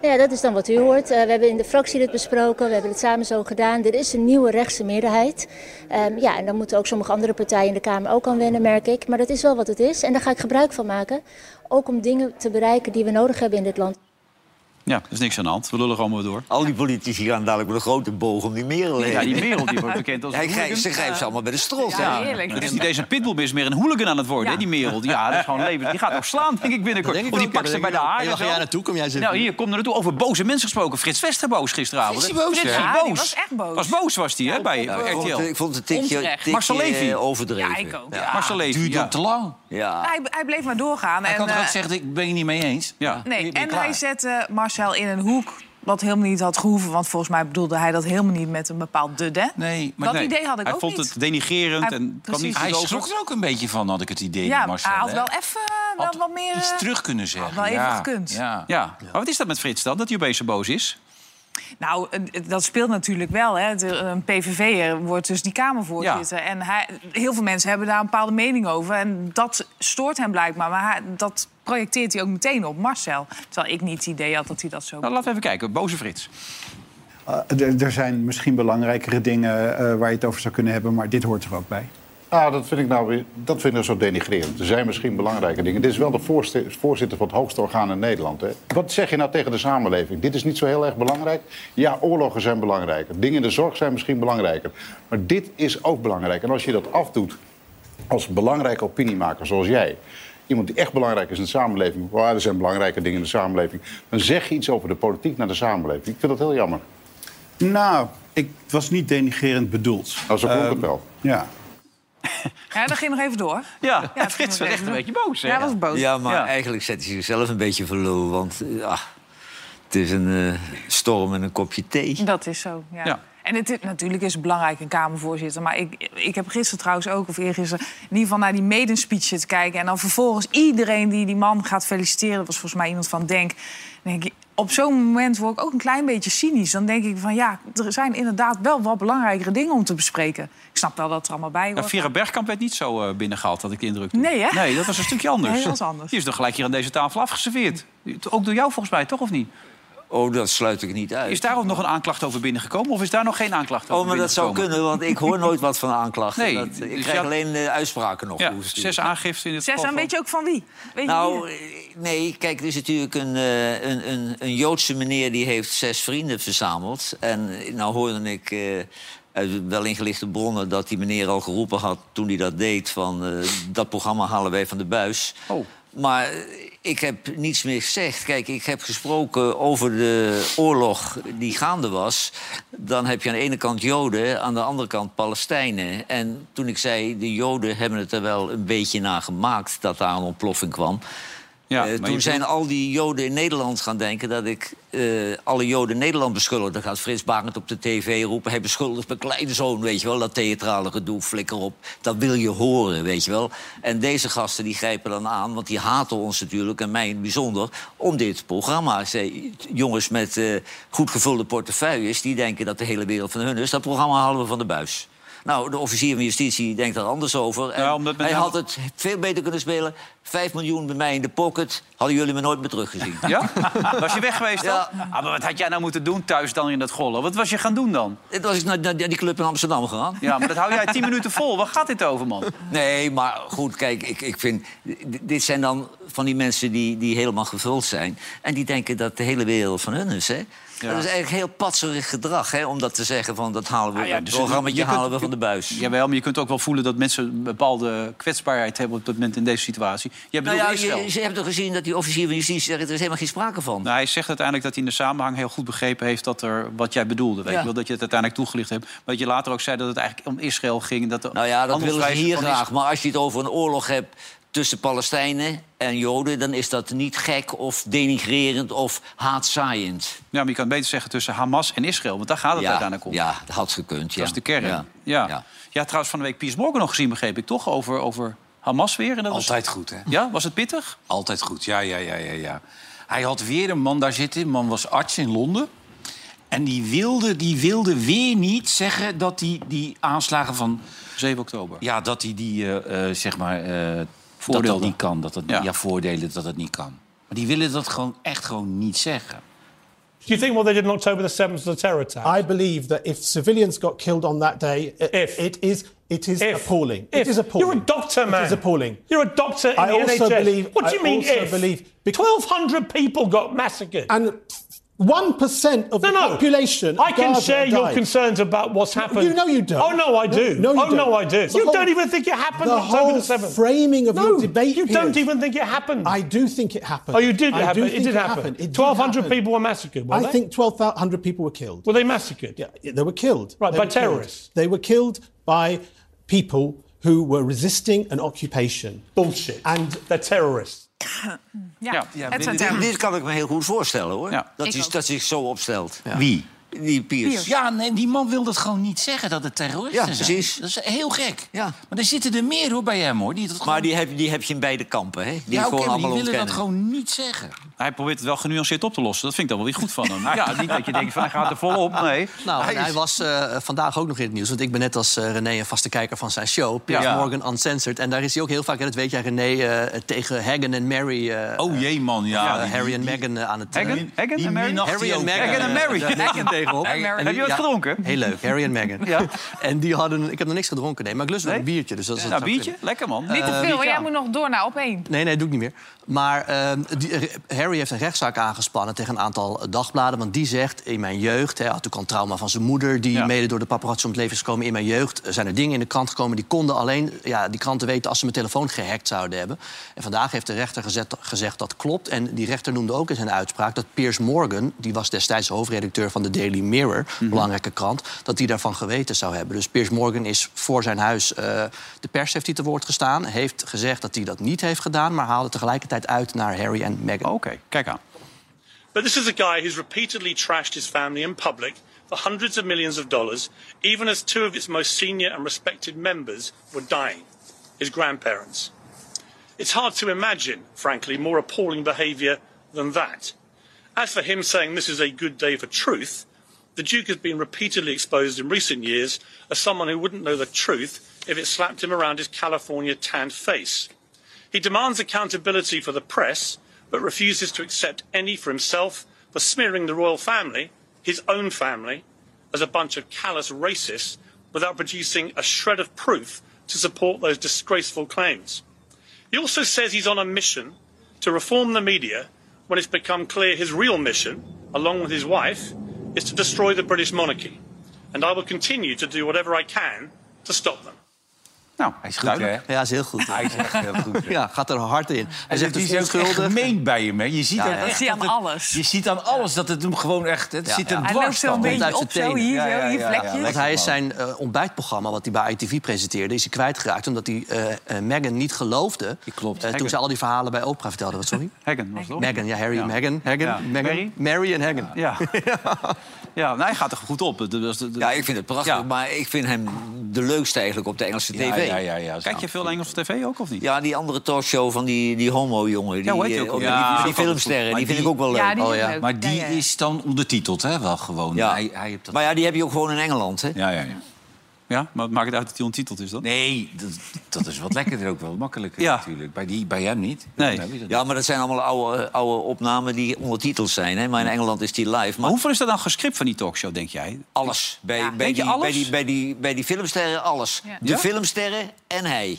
Speaker 10: Nou ja, dat is dan wat u hoort. Eh, we hebben in de fractie dit besproken, we hebben het samen zo gedaan. Er is een nieuwe rechtse meerderheid. Ehm, ja, en dan moeten ook sommige andere partijen in de Kamer ook aan wennen, merk ik. Maar dat is wel wat het is en daar ga ik gebruik van maken. Ook om dingen te bereiken die we nodig hebben in dit land.
Speaker 2: Ja, er is niks aan de hand. We lullen gewoon maar door.
Speaker 4: Al die politici gaan dadelijk met een grote boog om die Merel heen.
Speaker 2: Ja, die Merel die wordt bekend als
Speaker 4: Hij
Speaker 2: een
Speaker 4: grijpt, ze grijpen ze allemaal bij de strot.
Speaker 6: Ja,
Speaker 4: hè?
Speaker 6: heerlijk.
Speaker 2: Het is niet eens een pitbull, maar is meer een hooligan aan het worden,
Speaker 6: Ja.
Speaker 2: hè, die Merel. Ja, dat is gewoon leven. Die gaat ook slaan, denk ik binnenkort.
Speaker 8: denk ik
Speaker 2: of die
Speaker 8: ook,
Speaker 2: pakt
Speaker 8: ja,
Speaker 2: ze
Speaker 8: dat
Speaker 2: bij de
Speaker 8: denk ik ook.
Speaker 2: haar.
Speaker 8: Hey, waar
Speaker 2: en
Speaker 8: ga
Speaker 2: zo.
Speaker 8: jij naartoe? Kom jij zitten?
Speaker 2: Nou, hier, kom er naartoe. Over boze mensen gesproken. Frits Wester boos gisteravond.
Speaker 8: Is hij boos,
Speaker 2: Frits
Speaker 8: hè?
Speaker 2: is
Speaker 6: Ja, die
Speaker 2: boos.
Speaker 6: was echt boos.
Speaker 2: Was boos, was hij, hè, bij
Speaker 4: Ja, ik, vond,
Speaker 2: RTL.
Speaker 4: Oh, ik vond het een tikje,
Speaker 6: Onterecht.
Speaker 4: tikje,
Speaker 2: Marcel Levy.
Speaker 4: eh, overdreven.
Speaker 6: Ja, ik ook. Ja.
Speaker 2: Marcel Levy,
Speaker 5: Duurt
Speaker 2: ja.
Speaker 5: hem te lang.
Speaker 4: Ja.
Speaker 6: Hij, hij bleef maar doorgaan.
Speaker 5: Hij
Speaker 6: en,
Speaker 5: kan toch ook
Speaker 6: eh,
Speaker 5: zeggen, ik ben het niet mee eens?
Speaker 2: Ja.
Speaker 6: Nee,
Speaker 5: ben je
Speaker 6: en
Speaker 5: klaar.
Speaker 6: hij zette Marcel in een hoek wat helemaal niet had gehoeven. Want volgens mij bedoelde hij dat helemaal niet met een bepaald dud, hè?
Speaker 5: Nee, maar
Speaker 6: dat
Speaker 2: Nee,
Speaker 6: idee had ik
Speaker 2: hij
Speaker 6: ook
Speaker 2: vond
Speaker 6: niet.
Speaker 2: het denigerend
Speaker 6: Hij-
Speaker 2: en kwam
Speaker 6: precies.
Speaker 2: niet goed
Speaker 5: hij
Speaker 2: over.
Speaker 5: schrok er ook een beetje van, had ik het idee,
Speaker 6: ja,
Speaker 5: Marcel.
Speaker 6: hij had
Speaker 5: hè?
Speaker 6: wel even eh, wel
Speaker 5: Had
Speaker 6: wat meer...
Speaker 5: iets
Speaker 6: eh,
Speaker 5: terug kunnen zeggen.
Speaker 6: wel even
Speaker 5: ja.
Speaker 6: gekund.
Speaker 5: Ja.
Speaker 2: Ja. maar wat is dat met Frits dan, dat hij opeens zo boos is?
Speaker 6: Nou, eh, dat speelt natuurlijk wel. Hè. De- eh, Een PVV'er wordt dus die Kamervoorzitter. En hij, heel veel mensen hebben daar een bepaalde mening over. En dat stoort hem blijkbaar. Maar hij- dat projecteert hij ook meteen op Marcel. Terwijl ik niet het idee had dat hij dat zo...
Speaker 2: Nou, laten we even kijken. Boze Frits.
Speaker 1: Eh, er zijn misschien belangrijkere dingen eh, waar je het over zou kunnen hebben, maar dit hoort er ook bij.
Speaker 10: Nou, dat vind ik nou weer, dat vind ik zo denigrerend. Er zijn misschien belangrijke dingen. Dit is wel de voorste- voorzitter van het hoogste orgaan in Nederland. Hè? Wat zeg je nou tegen de samenleving? Dit is niet zo heel erg belangrijk. Ja, oorlogen zijn belangrijker. Dingen in de zorg zijn misschien belangrijker. Maar dit is ook belangrijk. En als je dat afdoet als belangrijke opiniemaker zoals jij... Iemand die echt belangrijk is in de samenleving. Waar er zijn belangrijke dingen in de samenleving. Dan zeg je iets over de politiek naar de samenleving. Ik vind dat heel jammer.
Speaker 1: Nou, ik was niet denigerend bedoeld.
Speaker 10: Nou, zo klonk het wel.
Speaker 1: Ja.
Speaker 6: Ja, dat ging nog even door.
Speaker 2: Ja, [LAUGHS]
Speaker 6: Ja,
Speaker 2: Frits was
Speaker 6: dat-
Speaker 2: echt een beetje boos. hè?
Speaker 6: Ja, hij was boos.
Speaker 4: Ja, maar
Speaker 2: Nou, Ja.
Speaker 4: eigenlijk zet hij zichzelf een beetje voor lul. Want eh, ja, het is een eh, storm en een kopje thee.
Speaker 6: Dat is zo, ja.
Speaker 2: Ja.
Speaker 6: En het, is- natuurlijk is het belangrijk een Kamervoorzitter. Maar ik, ik heb gisteren trouwens ook, of eergisteren... in ieder geval naar die maiden speech zitten kijken. En dan vervolgens iedereen die die man gaat feliciteren... dat was volgens mij iemand van Denk... Dan denk ik, op zo'n moment word ik ook een klein beetje cynisch. Dan denk ik van ja, er zijn inderdaad wel wat belangrijkere dingen om te bespreken. Ik snap wel dat het er allemaal bij
Speaker 2: Nou,
Speaker 6: hoort.
Speaker 2: Vera Bergkamp werd niet zo eh, binnengehaald, had ik de indruk. toen.
Speaker 6: Nee, hè?
Speaker 2: Nee, dat was een stukje anders.
Speaker 6: Nee, dat was anders.
Speaker 2: Die is dan gelijk hier aan deze tafel afgeserveerd. Ook door jou volgens mij, toch of niet?
Speaker 4: Oh, dat sluit ik niet uit.
Speaker 2: Is daar ook nog een aanklacht over binnengekomen? Of is daar nog geen aanklacht over
Speaker 4: Oh, maar dat zou
Speaker 2: binnengekomen?
Speaker 4: kunnen, want ik hoor nooit wat van aanklachten.
Speaker 2: Nee,
Speaker 4: dat, ik
Speaker 2: dus
Speaker 4: krijg
Speaker 2: ja-
Speaker 4: alleen de uitspraken nog.
Speaker 2: Ja,
Speaker 4: hoe ze-
Speaker 2: zes aangiften in het
Speaker 6: Zes,
Speaker 2: geval
Speaker 6: en
Speaker 2: van-
Speaker 6: weet je ook van wie? Weet je
Speaker 4: Nou,
Speaker 6: wie?
Speaker 4: eh, nee, kijk, er is natuurlijk een, eh, een, een, een Joodse meneer... die heeft zes vrienden verzameld. En eh, nou hoorde ik eh, uit wel ingelichte bronnen... dat die meneer al geroepen had toen hij dat deed... van eh, dat programma halen wij van de buis.
Speaker 2: Oh.
Speaker 4: Maar eh, ik heb niets meer gezegd. Kijk, ik heb gesproken over de oorlog die gaande was. Dan heb je aan de ene kant Joden, aan de andere kant Palestijnen. En toen ik zei, de Joden hebben het er wel een beetje naar gemaakt... dat daar een ontploffing kwam.
Speaker 2: Ja,
Speaker 4: Eh,
Speaker 2: maar je
Speaker 4: toen zijn
Speaker 2: bedoelt-
Speaker 4: al die Joden in Nederland gaan denken dat ik eh, alle Joden in Nederland beschuldig. Dan gaat Frits Barend op de tv roepen: hij beschuldigt mijn kleinzoon, weet je wel. Dat theatrale gedoe, flikker op. Dat wil je horen, weet je wel. En deze gasten die grijpen dan aan, want die haten ons natuurlijk, en mij in het bijzonder, om dit programma. Ik zei, jongens met eh, goed gevulde portefeuilles, die denken dat de hele wereld van hun is. Dat programma halen we van de buis. Nou, de officier van justitie denkt daar anders over. En
Speaker 2: Ja, omdat men
Speaker 4: hij
Speaker 2: hem-
Speaker 4: had het veel beter kunnen spelen. Vijf miljoen bij mij in de pocket. Hadden jullie me nooit meer teruggezien.
Speaker 2: [LAUGHS] Ja? Was je weg geweest dan? Ah, maar wat had jij nou moeten doen thuis dan in dat gollen? Wat was je gaan doen dan?
Speaker 4: Toen was ik naar, naar die club in Amsterdam gegaan.
Speaker 2: Ja, maar dat hou jij tien minuten vol. Waar gaat dit over, man?
Speaker 4: Nee, maar goed, kijk, ik, ik vind... d- Dit zijn dan van die mensen die, die helemaal gevuld zijn. En die denken dat de hele wereld van hun is, hè? Dat is eigenlijk heel patserig gedrag, hè? Om dat te zeggen van, dat halen we...
Speaker 2: Ah ja,
Speaker 4: dat
Speaker 2: dus
Speaker 4: programmaatje
Speaker 2: je kunt-
Speaker 4: halen we van de buis.
Speaker 2: Jawel, maar je kunt ook wel voelen dat mensen een bepaalde kwetsbaarheid hebben... op dat moment in deze situatie. Jij
Speaker 4: nou
Speaker 2: bedoelt
Speaker 4: ja,
Speaker 2: Israël.
Speaker 4: je, je hebt toch gezien dat die officier van justitie zegt... er is helemaal geen sprake van.
Speaker 2: Nou, hij zegt uiteindelijk dat hij in de samenhang heel goed begrepen heeft... Dat er, wat jij bedoelde. Weet
Speaker 4: Ja.
Speaker 2: je wel, dat je het uiteindelijk toegelicht hebt. Maar dat je later ook zei dat het eigenlijk om Israël ging. Dat de
Speaker 4: Nou ja, dat willen ze
Speaker 2: handelswijze
Speaker 4: hier
Speaker 2: van
Speaker 4: graag. Maar als je het over een oorlog hebt tussen Palestijnen en Joden... dan is dat niet gek of denigrerend of haatzaaiend.
Speaker 2: Ja, maar je kan het beter zeggen tussen Hamas en Israël. Want daar gaat het uiteindelijk om.
Speaker 4: ja, dat had gekund.
Speaker 2: Dat is de kern. Ja. Ja. trouwens, van de week Piers Morgan nog gezien, begreep ik toch? Over, over Hamas weer. En dat was-
Speaker 5: Altijd goed, hè?
Speaker 2: Ja, was het pittig?
Speaker 5: Altijd goed, ja, ja, ja, ja, ja. Hij had weer een man daar zitten. De man was arts in Londen. En die wilde, die wilde weer niet zeggen dat die, die aanslagen van...
Speaker 2: 7 oktober.
Speaker 5: Ja, dat hij die, eh, eh, zeg maar... eh dat dat
Speaker 2: Voordelen.
Speaker 5: niet kan. Dat dat,
Speaker 2: Ja.
Speaker 5: ja. voordelen dat dat niet kan. Maar die willen dat gewoon echt gewoon niet zeggen.
Speaker 11: Do you think what they did on October the 7th was a terror attack? I believe that if civilians got killed on that day, if. uh, it is it is appalling. It is appalling. You're a doctor, man. It is appalling. You're a doctor in I
Speaker 12: the
Speaker 11: also
Speaker 12: NHS.
Speaker 11: Believe,
Speaker 12: What do
Speaker 11: I
Speaker 12: you mean
Speaker 11: also
Speaker 12: if?
Speaker 11: believe 1,200 people got massacred. And 1% of the population.
Speaker 12: I can
Speaker 11: Gaza
Speaker 12: share your
Speaker 11: died.
Speaker 12: concerns about what's happened.
Speaker 11: You know you don't.
Speaker 12: Oh no, I do.
Speaker 11: No, you
Speaker 12: oh
Speaker 11: don't.
Speaker 12: no, I do.
Speaker 11: The
Speaker 12: you
Speaker 11: whole-
Speaker 12: don't even think it happened
Speaker 11: the
Speaker 12: on October
Speaker 11: whole
Speaker 12: the seventh.
Speaker 11: framing of your debate.
Speaker 12: You don't
Speaker 11: period.
Speaker 12: even think it happened.
Speaker 11: I do think it happened.
Speaker 12: oh, you did.
Speaker 11: I
Speaker 12: It happen.
Speaker 11: do
Speaker 12: It
Speaker 11: think
Speaker 12: did happen.
Speaker 11: It did
Speaker 12: 1,200
Speaker 11: happen.
Speaker 12: people were massacred. Were
Speaker 11: I
Speaker 12: they?
Speaker 11: think 1,200 people were killed.
Speaker 12: were they massacred? Yeah.
Speaker 11: Yeah, They were killed.
Speaker 12: Right,
Speaker 11: They
Speaker 12: by
Speaker 11: were killed.
Speaker 12: terrorists.
Speaker 11: They were killed by people who were resisting an occupation.
Speaker 12: Bullshit.
Speaker 11: And
Speaker 12: They're terrorists.
Speaker 6: Ja,
Speaker 2: ja,
Speaker 6: het zijn
Speaker 2: dit-
Speaker 6: termen.
Speaker 4: Dit kan ik me heel goed voorstellen, hoor.
Speaker 2: Ja.
Speaker 4: Dat,
Speaker 6: Ik
Speaker 4: hij,
Speaker 6: ook.
Speaker 4: dat hij zich zo opstelt.
Speaker 5: Wie?
Speaker 4: Die Piers.
Speaker 6: Piers.
Speaker 5: Ja, nee, die man wil dat gewoon niet zeggen, dat het terroristen
Speaker 4: Ja,
Speaker 5: zijn.
Speaker 4: precies.
Speaker 5: Dat is heel gek.
Speaker 4: Ja.
Speaker 5: Maar er zitten er meer hoor, bij hem, hoor. Die dat gewoon...
Speaker 4: Maar die heb, die heb je in beide kampen, hè? Die
Speaker 5: ja, oké,
Speaker 4: gewoon
Speaker 5: maar die
Speaker 4: allemaal
Speaker 5: willen
Speaker 4: ontkennen.
Speaker 5: dat gewoon niet zeggen.
Speaker 2: Hij probeert het wel genuanceerd op te lossen. Dat vind ik dan wel weer goed van hem. Ja, niet dat je denkt van hij gaat er vol op. Nee.
Speaker 8: Nou, en
Speaker 2: is-
Speaker 8: hij was eh, vandaag ook nog in het nieuws. Want ik ben net als eh, René een vaste kijker van zijn show. Piers
Speaker 2: Ja.
Speaker 8: Morgan Uncensored. En daar is hij ook heel vaak, en dat weet jij René, eh, tegen Hagen en Mary... eh,
Speaker 5: Oh jee, man, ja.
Speaker 8: eh, Harry en Meghan eh, aan het... eh,
Speaker 2: Hagen? Hagen
Speaker 5: die
Speaker 2: en Mary?
Speaker 5: minacht
Speaker 8: Harry
Speaker 5: die
Speaker 8: en
Speaker 5: ook.
Speaker 8: Meghan.
Speaker 2: Meghan en
Speaker 8: eh,
Speaker 2: Mary.
Speaker 8: daar nek je hem tegenop. En die-
Speaker 5: Harry-
Speaker 2: Ah, Heb je wat
Speaker 8: ja,
Speaker 2: gedronken?
Speaker 8: Heel leuk, Harry en Meghan.
Speaker 2: [LAUGHS] Ja.
Speaker 8: En die hadden... Ik heb nog niks gedronken, nee. Maar ik lust wel
Speaker 2: Nee?
Speaker 8: een biertje. Dus dat is
Speaker 2: Nou,
Speaker 8: dat
Speaker 2: een
Speaker 8: zou
Speaker 2: biertje?
Speaker 8: kunnen.
Speaker 2: Lekker man.
Speaker 6: Niet
Speaker 5: Eh,
Speaker 6: te veel, want jij moet nog door naar op één.
Speaker 8: Nee, nee, doe ik niet meer. Maar ehm, die, eh, Harry heeft een rechtszaak aangespannen tegen een aantal eh, dagbladen. Want die zegt, in mijn jeugd... Hij had ook al een trauma van zijn moeder... die
Speaker 2: Ja.
Speaker 8: mede door de paparazzi om het leven is gekomen. In mijn jeugd eh, zijn er dingen in de krant gekomen... die konden alleen ja, die kranten weten als ze mijn telefoon gehackt zouden hebben. En vandaag heeft de rechter gezet- gezegd dat klopt. En die rechter noemde ook in zijn uitspraak dat Piers Morgan... die was destijds hoofdredacteur van de Daily Mirror, belangrijke krant... dat die daarvan geweten zou hebben. Dus Piers Morgan is voor zijn huis... eh, de pers heeft hij te woord gestaan, heeft gezegd dat hij dat niet heeft gedaan... maar haalde tegelijkertijd uit naar Harry en Meghan.
Speaker 2: Oké, kijk aan.
Speaker 11: But this is a guy who's repeatedly trashed his family in public for hundreds of millions of dollars, even as two of its most senior and respected members were dying his grandparents. It's hard to imagine, frankly, more appalling behaviour than that. As for him saying this is a good day for truth, the Duke has been repeatedly exposed in recent years as someone who wouldn't know the truth if it slapped him around his California tanned face. He demands accountability for the press, but refuses to accept any for himself for smearing the royal family, his own family, as a bunch of callous racists without producing a shred of proof to support those disgraceful claims. He also says he's on a mission to reform the media when it's become clear his real mission, along with his wife, is to destroy the British monarchy. And I will continue to do whatever I can to stop them.
Speaker 5: Nou, hij is goed,
Speaker 11: duidelijk.
Speaker 5: hè?
Speaker 8: Ja, is heel goed.
Speaker 5: Hij is echt heel goed.
Speaker 8: Ja, gaat er hard in. Hij zegt
Speaker 5: die
Speaker 8: dus
Speaker 5: is ook echt
Speaker 8: onschuldig.
Speaker 5: gemeen bij hem. Hè. Je ziet
Speaker 8: Ja,
Speaker 5: hem
Speaker 8: ja.
Speaker 5: echt
Speaker 8: Dat zie je
Speaker 5: dat
Speaker 6: aan
Speaker 5: het-
Speaker 6: alles.
Speaker 5: Je ziet aan alles dat het hem gewoon echt... Het zit hem
Speaker 6: Hij
Speaker 5: dwars
Speaker 6: loopt zo
Speaker 5: dan.
Speaker 6: een beetje
Speaker 8: Uit zijn
Speaker 6: op, zo
Speaker 8: tenen.
Speaker 6: hier,
Speaker 5: Ja,
Speaker 6: zo
Speaker 5: ja,
Speaker 6: hier,
Speaker 5: ja,
Speaker 6: vlekjes.
Speaker 5: ja,
Speaker 8: Want
Speaker 5: lekker,
Speaker 8: hij is
Speaker 5: man.
Speaker 8: zijn eh, ontbijtprogramma, wat hij bij ITV presenteerde, is hij kwijtgeraakt omdat hij eh Megan niet geloofde.
Speaker 5: Klopt.
Speaker 8: eh, toen ze al die verhalen bij Oprah vertelde. Wat, sorry?
Speaker 2: Heggen was het ook.
Speaker 8: Megan, ja, Harry,
Speaker 2: Ja.
Speaker 8: Megan,
Speaker 2: Ja.
Speaker 8: Meghan, Meghan,
Speaker 2: Mary?
Speaker 8: Mary en Hagen.
Speaker 2: Ja. [LAUGHS] ja, nou, hij gaat er goed op.
Speaker 4: Ja, ik vind het prachtig, maar ik vind hem de leukste eigenlijk op de Engelse
Speaker 5: Ja,
Speaker 4: tv.
Speaker 5: ja, ja, ja,
Speaker 2: Kijk je veel Engelse tv ook, of niet?
Speaker 4: Ja, die andere talkshow van die, die homo-jongen. Die,
Speaker 2: Ja, hoe heet die
Speaker 4: eh,
Speaker 2: ook
Speaker 4: die,
Speaker 2: alweer? Ja,
Speaker 4: die
Speaker 2: die
Speaker 4: filmsterren, die,
Speaker 5: Maar
Speaker 4: vind
Speaker 5: die-
Speaker 4: ik ook wel leuk.
Speaker 6: Ja, die is
Speaker 8: Oh, ja.
Speaker 6: leuk.
Speaker 5: Maar die
Speaker 6: Ja, ja.
Speaker 5: is dan ondertiteld, hè? Wel gewoon.
Speaker 4: Ja.
Speaker 5: Hij, hij heeft dat...
Speaker 4: Maar ja, die heb je ook gewoon in Engeland, hè?
Speaker 5: Ja, ja, ja.
Speaker 2: Ja, maar het maakt het uit dat hij ontiteld is dan?
Speaker 5: Nee, dat, dat is wat lekkerder ook wel. Makkelijker
Speaker 2: Ja.
Speaker 5: natuurlijk. Bij, die, bij hem niet. Nou,
Speaker 2: Nee.
Speaker 5: Bij hem heb je dat
Speaker 4: Ja, maar dat zijn allemaal oude, oude opnamen die ondertiteld zijn. Hè? Maar in Engeland is die live.
Speaker 2: Maar
Speaker 4: Maar
Speaker 2: hoeveel is er dan gescript van die talkshow, denk jij?
Speaker 4: alles. Bij, bij,
Speaker 2: Denk je
Speaker 4: die,
Speaker 2: alles?
Speaker 4: Bij, die, bij, die, bij die filmsterren alles.
Speaker 6: Ja.
Speaker 4: De
Speaker 2: Ja?
Speaker 4: filmsterren en hij.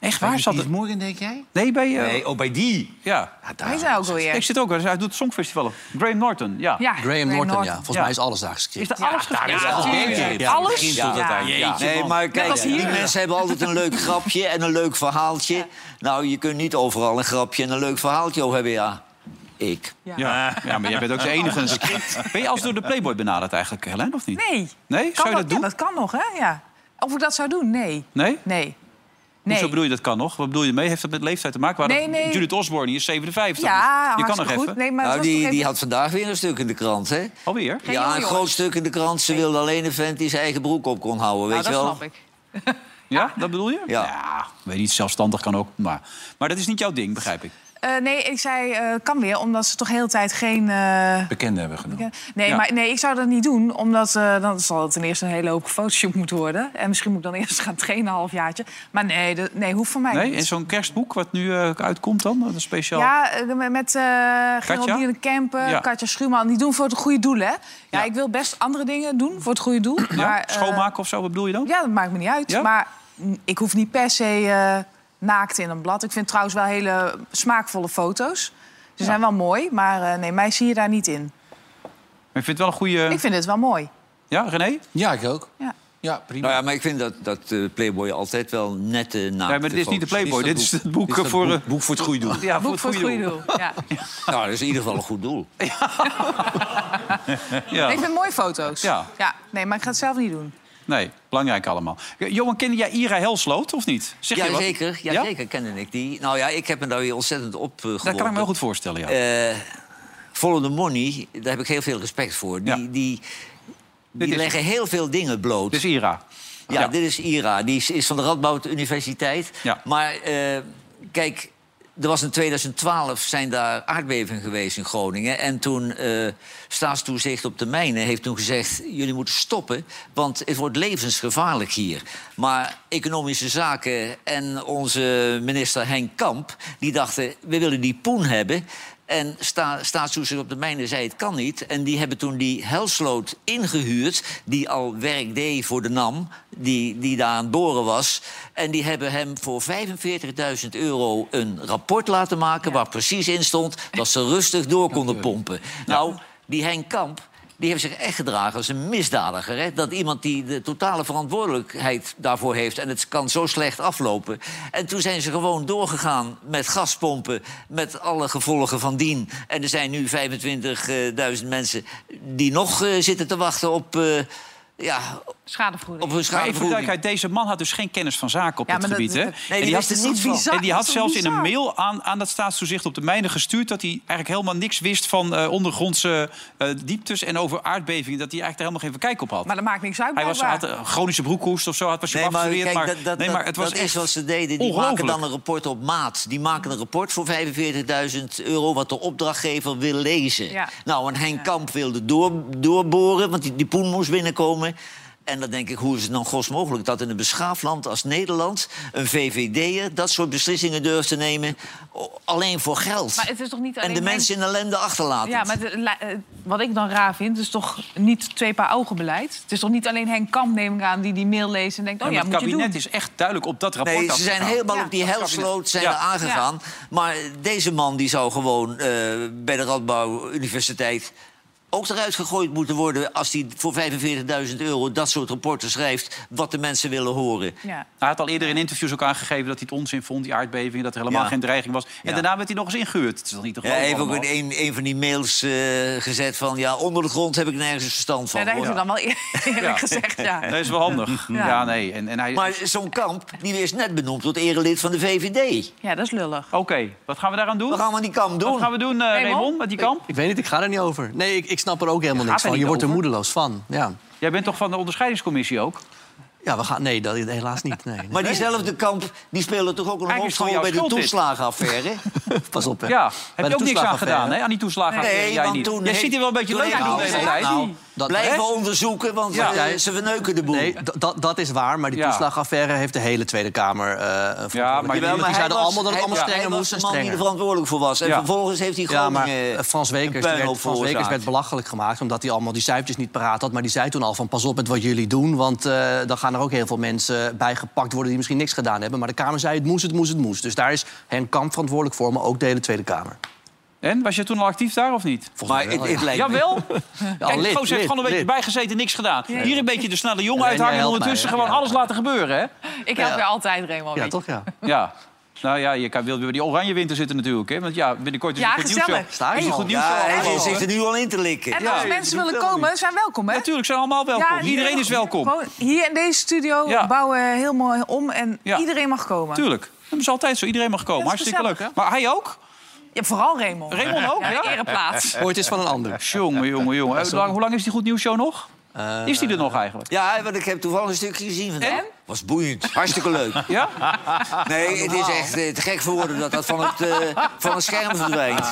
Speaker 2: Echt
Speaker 5: Waar
Speaker 2: waar? Zat
Speaker 5: dat?
Speaker 2: het?
Speaker 5: Morgen, denk jij?
Speaker 2: Nee, bij... eh,
Speaker 5: Nee, oh, bij die.
Speaker 2: Ja.
Speaker 6: Hij is daar ook alweer.
Speaker 2: Ik zit ook wel eens- Hij doet songfestivalen. Graham Norton, ja.
Speaker 6: Ja,
Speaker 8: Graham Norton, ja. Volgens
Speaker 2: Ja.
Speaker 8: mij is alles daar geschreven.
Speaker 2: Is er alles gescript?
Speaker 6: Ja, natuurlijk.
Speaker 5: Ja,
Speaker 6: Alles?
Speaker 5: begin tot het
Speaker 6: Ja.
Speaker 5: eind. Ja.
Speaker 4: Nee, maar kijk,
Speaker 6: als
Speaker 4: die
Speaker 6: hier.
Speaker 4: mensen hebben altijd een leuk grapje en een leuk verhaaltje. Nou, je kunt niet overal een grapje en een leuk verhaaltje over hebben, ja. Ik.
Speaker 2: Ja. ja, maar jij bent ook de enige. met een [LAUGHS] script. Ben je als door de Playboy benaderd eigenlijk, Helen, of niet?
Speaker 6: Nee.
Speaker 2: Nee?
Speaker 6: Kan
Speaker 2: Zou je dat
Speaker 6: nog-
Speaker 2: doen?
Speaker 6: Ja, dat kan nog, hè? Ja. Of ik dat zou doen? Nee.
Speaker 2: Nee?
Speaker 6: Nee.
Speaker 2: Hoezo
Speaker 6: Nee.
Speaker 2: bedoel je dat kan nog? Wat bedoel je ermee? Heeft dat met leeftijd te maken? Waar
Speaker 6: Nee, nee.
Speaker 2: Judith Osborne, die is 57.
Speaker 6: Ja,
Speaker 2: je kan nog
Speaker 6: hartstikke goed.
Speaker 2: even.
Speaker 6: Nee, maar het
Speaker 4: Nou,
Speaker 6: was toch
Speaker 4: die,
Speaker 6: even-
Speaker 4: die had vandaag weer een stuk in de krant, hè?
Speaker 2: Alweer?
Speaker 4: Ja,
Speaker 6: Geen jongen,
Speaker 4: een
Speaker 6: jongens.
Speaker 4: groot stuk in de krant. Ze wilde alleen een vent die zijn eigen broek op kon houden,
Speaker 6: Nou,
Speaker 4: weet
Speaker 6: dat
Speaker 4: je wel?
Speaker 6: snap ik.
Speaker 2: Ja, dat bedoel je?
Speaker 4: Ja.
Speaker 2: weet niet, zelfstandig kan ook. Maar, maar dat is niet jouw ding, begrijp ik.
Speaker 6: Eh, nee, ik zei eh, kan weer, omdat ze toch heel de tijd geen... eh,
Speaker 5: Bekende hebben genomen.
Speaker 6: Nee,
Speaker 2: Ja.
Speaker 6: maar nee, ik zou dat niet doen, omdat eh, dan zal het ten eerste een hele hoop gefotoshopt moeten worden. En misschien moet ik dan eerst gaan trainen een halfjaartje. Maar nee, dat, nee hoeft voor mij
Speaker 2: Nee,
Speaker 6: niet.
Speaker 2: en zo'n kerstboek wat nu eh, uitkomt dan? Een speciaal...
Speaker 6: Ja, eh, met- met eh Geraldine Kempen,
Speaker 2: Ja.
Speaker 6: Katja Schuurman. Die doen voor het goede doel, hè? Ja,
Speaker 2: Ja.
Speaker 6: ik wil best andere dingen doen voor het goede doel.
Speaker 2: Ja?
Speaker 6: Maar, eh,
Speaker 2: Schoonmaken of zo, wat bedoel je dan?
Speaker 6: ja, dat maakt me niet uit.
Speaker 2: Ja?
Speaker 6: Maar mm, ik hoef niet per se eh, naakt in een blad. Ik vind trouwens wel hele smaakvolle foto's. Ze zijn wel mooi, maar eh, nee, mij zie je daar niet in.
Speaker 2: Maar ik vind het wel een goede...
Speaker 6: Ik vind het wel mooi.
Speaker 2: Ja, René?
Speaker 5: Ja, ik ook.
Speaker 6: Ja.
Speaker 5: Ja, prima.
Speaker 4: Nou ja, maar ik vind dat, dat eh, Playboy altijd wel nette naakte
Speaker 2: Nee, maar dit is niet de
Speaker 4: foto's.
Speaker 2: Playboy, dit is het boek
Speaker 5: Is dat
Speaker 2: voor... eh,
Speaker 5: boek, boek voor het goede doel.
Speaker 2: Ja,
Speaker 6: Boek voor het goede doel. Ja.
Speaker 4: [LAUGHS] Nou, dat is in ieder geval een goed
Speaker 2: [LAUGHS]
Speaker 4: doel.
Speaker 2: Ja.
Speaker 6: Nee, ik vind mooie foto's.
Speaker 2: Ja.
Speaker 6: Nee, maar ik ga het zelf niet doen.
Speaker 2: Nee, belangrijk allemaal. Eh, Johan, kende jij Ira Helsloot of niet? Zeg je
Speaker 4: Ja,
Speaker 2: wat?
Speaker 4: zeker. Ja, zeker kende ik die. Nou ja, ik heb me daar weer ontzettend op eh,
Speaker 2: Dat kan ik me
Speaker 4: geworpen.
Speaker 2: heel goed voorstellen, ja.
Speaker 4: eh Follow the Money, daar heb ik heel veel respect voor.
Speaker 2: Ja.
Speaker 4: Die, die, die
Speaker 2: is-
Speaker 4: leggen heel veel dingen bloot.
Speaker 2: dus Ira.
Speaker 4: ja,
Speaker 2: ja.
Speaker 4: dit is Ira. Die is, is van de Radboud Universiteit.
Speaker 2: Ja.
Speaker 4: Maar eh, kijk, er was in 2012 zijn daar aardbevingen geweest in Groningen. En toen eh staatstoezicht op de mijnen heeft toen gezegd... jullie moeten stoppen, want het wordt levensgevaarlijk hier. Maar economische zaken en onze minister Henk Kamp... die dachten, we willen die poen hebben... En sta, staatstoezicht op de mijnen zei het kan niet. En die hebben toen die Helsloot ingehuurd... die al werk deed voor de NAM, die, die daar aan het boren was. En die hebben hem voor 45.000 euro een rapport laten maken... waar precies in stond dat ze rustig door konden pompen. Nou, die Henk Kamp... Die heeft zich echt gedragen als een misdadiger. Hè? Dat iemand die de totale verantwoordelijkheid daarvoor heeft... en het kan zo slecht aflopen. En toen zijn ze gewoon doorgegaan met gaspompen... met alle gevolgen van dien. En er zijn nu 25.000 mensen die nog eh, zitten te wachten op... eh, ja,
Speaker 6: Schadevergoeding.
Speaker 4: Op een
Speaker 2: Maar even voor duidelijkheid, deze man had dus geen kennis van zaken op
Speaker 6: Ja,
Speaker 2: dat
Speaker 6: maar dat- oh
Speaker 2: gebied. Hè?
Speaker 6: dat- nee,
Speaker 2: en
Speaker 6: die
Speaker 2: die had,
Speaker 6: wist er niets van.
Speaker 2: en die
Speaker 6: Dat
Speaker 2: had
Speaker 6: is
Speaker 2: zelfs in een
Speaker 6: bizar.
Speaker 2: mail aan, aan dat staatstoezicht op de mijnen gestuurd... dat hij eigenlijk helemaal niks wist van eh, ondergrondse eh, dieptes... en over aardbevingen, dat hij eigenlijk er helemaal geen verkijk op had.
Speaker 6: Maar dat maakt niks uit,
Speaker 2: hij was, had
Speaker 6: blijkbaar.
Speaker 2: een chronische broekhoest of zo, had was je
Speaker 4: Nee, maar,
Speaker 2: afgestudeerd.
Speaker 4: kijk,
Speaker 2: Maar,
Speaker 4: dat, dat,
Speaker 2: nee, maar het was
Speaker 4: dat
Speaker 2: echt
Speaker 4: is wat ze deden. Die maken
Speaker 2: ongelooflijk.
Speaker 4: dan een rapport op maat. Die maken een rapport voor 45.000 euro... wat de opdrachtgever wil lezen.
Speaker 6: Ja.
Speaker 4: Nou, en Henk Kamp wilde door, doorboren, want die, die poen moest binnenkomen... En dan denk ik, hoe is het dan gos mogelijk dat in een beschaafd land als Nederland... een VVD'er dat soort beslissingen durft te nemen o- alleen voor geld?
Speaker 6: Maar het is toch niet alleen
Speaker 4: en de
Speaker 6: men-
Speaker 4: mensen in ellende achterlaten.
Speaker 6: Ja, maar de- la- eh, wat ik dan raar vind, is toch niet twee paar ogen beleid. Het is toch niet alleen Henk Kamp, neem ik aan, die die mail leest en denkt... oh
Speaker 2: En
Speaker 6: ja,
Speaker 2: het
Speaker 6: moet je doen.
Speaker 2: kabinet is echt duidelijk op dat Nou, rapport
Speaker 4: Nee, ze zijn
Speaker 2: afgegaan.
Speaker 4: helemaal op die helsloot zijn
Speaker 2: Ja.
Speaker 4: er aangegaan. Maar deze man die zou gewoon eh, bij de Radbouw Universiteit ook eruit gegooid moeten worden... als hij voor 45.000 euro dat soort rapporten schrijft... wat de mensen willen horen.
Speaker 6: Ja.
Speaker 2: Hij had al eerder in interviews ook aangegeven dat hij het onzin vond, die aardbeving, dat er helemaal
Speaker 4: Ja.
Speaker 2: geen dreiging was. En
Speaker 4: Ja.
Speaker 2: daarna werd hij nog eens ingehuurd. Het is toch niet te
Speaker 4: Ja,
Speaker 2: geloven
Speaker 4: hij heeft ook
Speaker 2: allemaal?
Speaker 4: in een, een van die mails eh, gezet van... ja, onder de grond heb ik nergens verstand van.
Speaker 6: Nee, daar heeft
Speaker 4: hoor.
Speaker 6: hij dan wel eerlijk
Speaker 2: Ja.
Speaker 6: gezegd, ja.
Speaker 2: Dat is wel handig.
Speaker 6: [LAUGHS] Ja.
Speaker 2: Ja, nee. En, en hij...
Speaker 4: Maar zo'n kamp die is net benoemd tot erelid van de VVD.
Speaker 6: Ja, dat is lullig.
Speaker 2: Oké, wat gaan we daaraan doen?
Speaker 4: Wat gaan we aan die kamp doen?
Speaker 2: Wat gaan we doen, eh,
Speaker 6: Raymond?
Speaker 2: Raymond, met die kamp?
Speaker 8: Ik weet niet, ik ga er niet over. Nee, ik, ik snap er ook helemaal
Speaker 2: gaat
Speaker 8: niks
Speaker 2: er
Speaker 8: van. Je
Speaker 2: niet
Speaker 8: wordt er
Speaker 2: over?
Speaker 8: moedeloos van. Ja,
Speaker 2: Jij bent toch van de onderscheidingscommissie ook?
Speaker 8: ja we gaan... Nee, dat, helaas niet. Nee, nee.
Speaker 4: Maar diezelfde kamp die speelde toch ook een
Speaker 2: Eigenlijk is het
Speaker 4: hoofdrol
Speaker 2: gewoon
Speaker 4: bij de
Speaker 2: jouw schuld, dit. [LAUGHS]
Speaker 4: toeslagenaffaire?
Speaker 8: [LAUGHS] Pas op, hè.
Speaker 2: Ja,
Speaker 8: Bij
Speaker 2: heb
Speaker 8: de
Speaker 2: je ook niks aan
Speaker 8: toeslagenaffaire.
Speaker 2: gedaan, hè? Aan die toeslagen.
Speaker 4: Nee,
Speaker 2: jij
Speaker 4: want
Speaker 2: niet.
Speaker 4: toen
Speaker 2: Jij
Speaker 4: heeft-
Speaker 2: ziet er wel een beetje
Speaker 4: toen
Speaker 2: leuk
Speaker 4: heeft
Speaker 2: uit de
Speaker 4: hij
Speaker 2: hele
Speaker 4: gezegd,
Speaker 2: tijd.
Speaker 4: nou,
Speaker 8: dat-
Speaker 4: Blijven
Speaker 8: hè?
Speaker 4: onderzoeken, want
Speaker 2: Ja.
Speaker 4: eh, ze verneuken de boel.
Speaker 8: Nee, da- da- dat is waar, maar die
Speaker 2: Ja.
Speaker 8: toeslagaffaire heeft de hele Tweede Kamer eh verantwoordelijk.
Speaker 2: Ja, maar
Speaker 8: die,
Speaker 2: jawel,
Speaker 4: hij
Speaker 8: zeiden
Speaker 4: was-
Speaker 8: allemaal dat het
Speaker 4: hij-
Speaker 8: allemaal
Speaker 4: ja,
Speaker 8: strenger moest en
Speaker 4: Hij was de man die
Speaker 8: strenger.
Speaker 4: er verantwoordelijk voor was. En
Speaker 2: Ja.
Speaker 4: vervolgens heeft hij gewoon...
Speaker 8: Ja, maar eh, Frans Wekers, die
Speaker 4: puinhoop
Speaker 8: werd, Frans Wekers
Speaker 4: veroorzaakt.
Speaker 8: werd belachelijk gemaakt... omdat hij allemaal die cijfertjes niet paraat had. Maar die zei toen al van pas op met wat jullie doen... want eh, dan gaan er ook heel veel mensen bij gepakt worden... die misschien niks gedaan hebben. Maar de Kamer zei het moest, het moest, het moest. Dus daar is Henk Kamp verantwoordelijk voor, maar ook de hele Tweede Kamer.
Speaker 2: En, was je toen al actief daar of niet?
Speaker 4: Maar het, het lijkt me-
Speaker 2: Jawel.
Speaker 8: Ja,
Speaker 2: Kijk,
Speaker 8: lid,
Speaker 2: Goos heeft
Speaker 8: lid,
Speaker 2: gewoon een beetje
Speaker 8: lid.
Speaker 2: bijgezeten, niks gedaan. Hier een beetje de snelle jongen
Speaker 8: jij
Speaker 2: uithangen en
Speaker 8: helpt
Speaker 2: ondertussen
Speaker 8: mij, hè?
Speaker 2: gewoon
Speaker 8: Ja.
Speaker 2: alles laten gebeuren, hè?
Speaker 6: Ik help weer altijd, Raymond.
Speaker 8: Ja,
Speaker 6: weet je.
Speaker 8: toch
Speaker 2: [LAUGHS]
Speaker 8: ja.
Speaker 2: Ja. Nou ja, je kan, wil weer bij die oranje winter zitten natuurlijk, hè? Want ja, binnenkort is
Speaker 6: Ja,
Speaker 2: het goed nieuws.
Speaker 6: gezellig.
Speaker 8: Sta je
Speaker 6: Hey,
Speaker 8: al?
Speaker 2: goed nieuws.
Speaker 4: Ja, hij
Speaker 2: Ja.
Speaker 4: zit er nu al in te likken.
Speaker 6: En
Speaker 4: Ja.
Speaker 6: als mensen willen komen, zijn welkom, hè?
Speaker 2: Natuurlijk, zijn allemaal welkom.
Speaker 6: Ja,
Speaker 2: Iedereen is welkom.
Speaker 6: Gewoon hier in deze studio
Speaker 2: Ja.
Speaker 6: bouwen eh, heel mooi om en
Speaker 2: Ja.
Speaker 6: iedereen mag komen.
Speaker 2: Tuurlijk. Dat is altijd zo. Iedereen mag komen.
Speaker 6: Dat is
Speaker 2: Hartstikke leuk.
Speaker 6: gezellig.
Speaker 2: Maar hij ook?
Speaker 6: Ja, vooral Raymond.
Speaker 2: Raymond ook?
Speaker 6: Ja,
Speaker 2: Ja.
Speaker 6: ereplaats.
Speaker 8: Hoort eens van een
Speaker 2: [LAUGHS]
Speaker 8: ander.
Speaker 2: Jongen, jongen, jongen. Hoe lang- Hoe lang is die Goed Nieuws Show nog? Is die er nog eigenlijk?
Speaker 4: Ja, want ik heb toevallig een stukje gezien vandaag.
Speaker 2: En?
Speaker 4: Was boeiend. Hartstikke leuk.
Speaker 2: Ja?
Speaker 4: Nee, het is echt eh, te gek voor woorden dat dat van het, eh, van het scherm verdwijnt.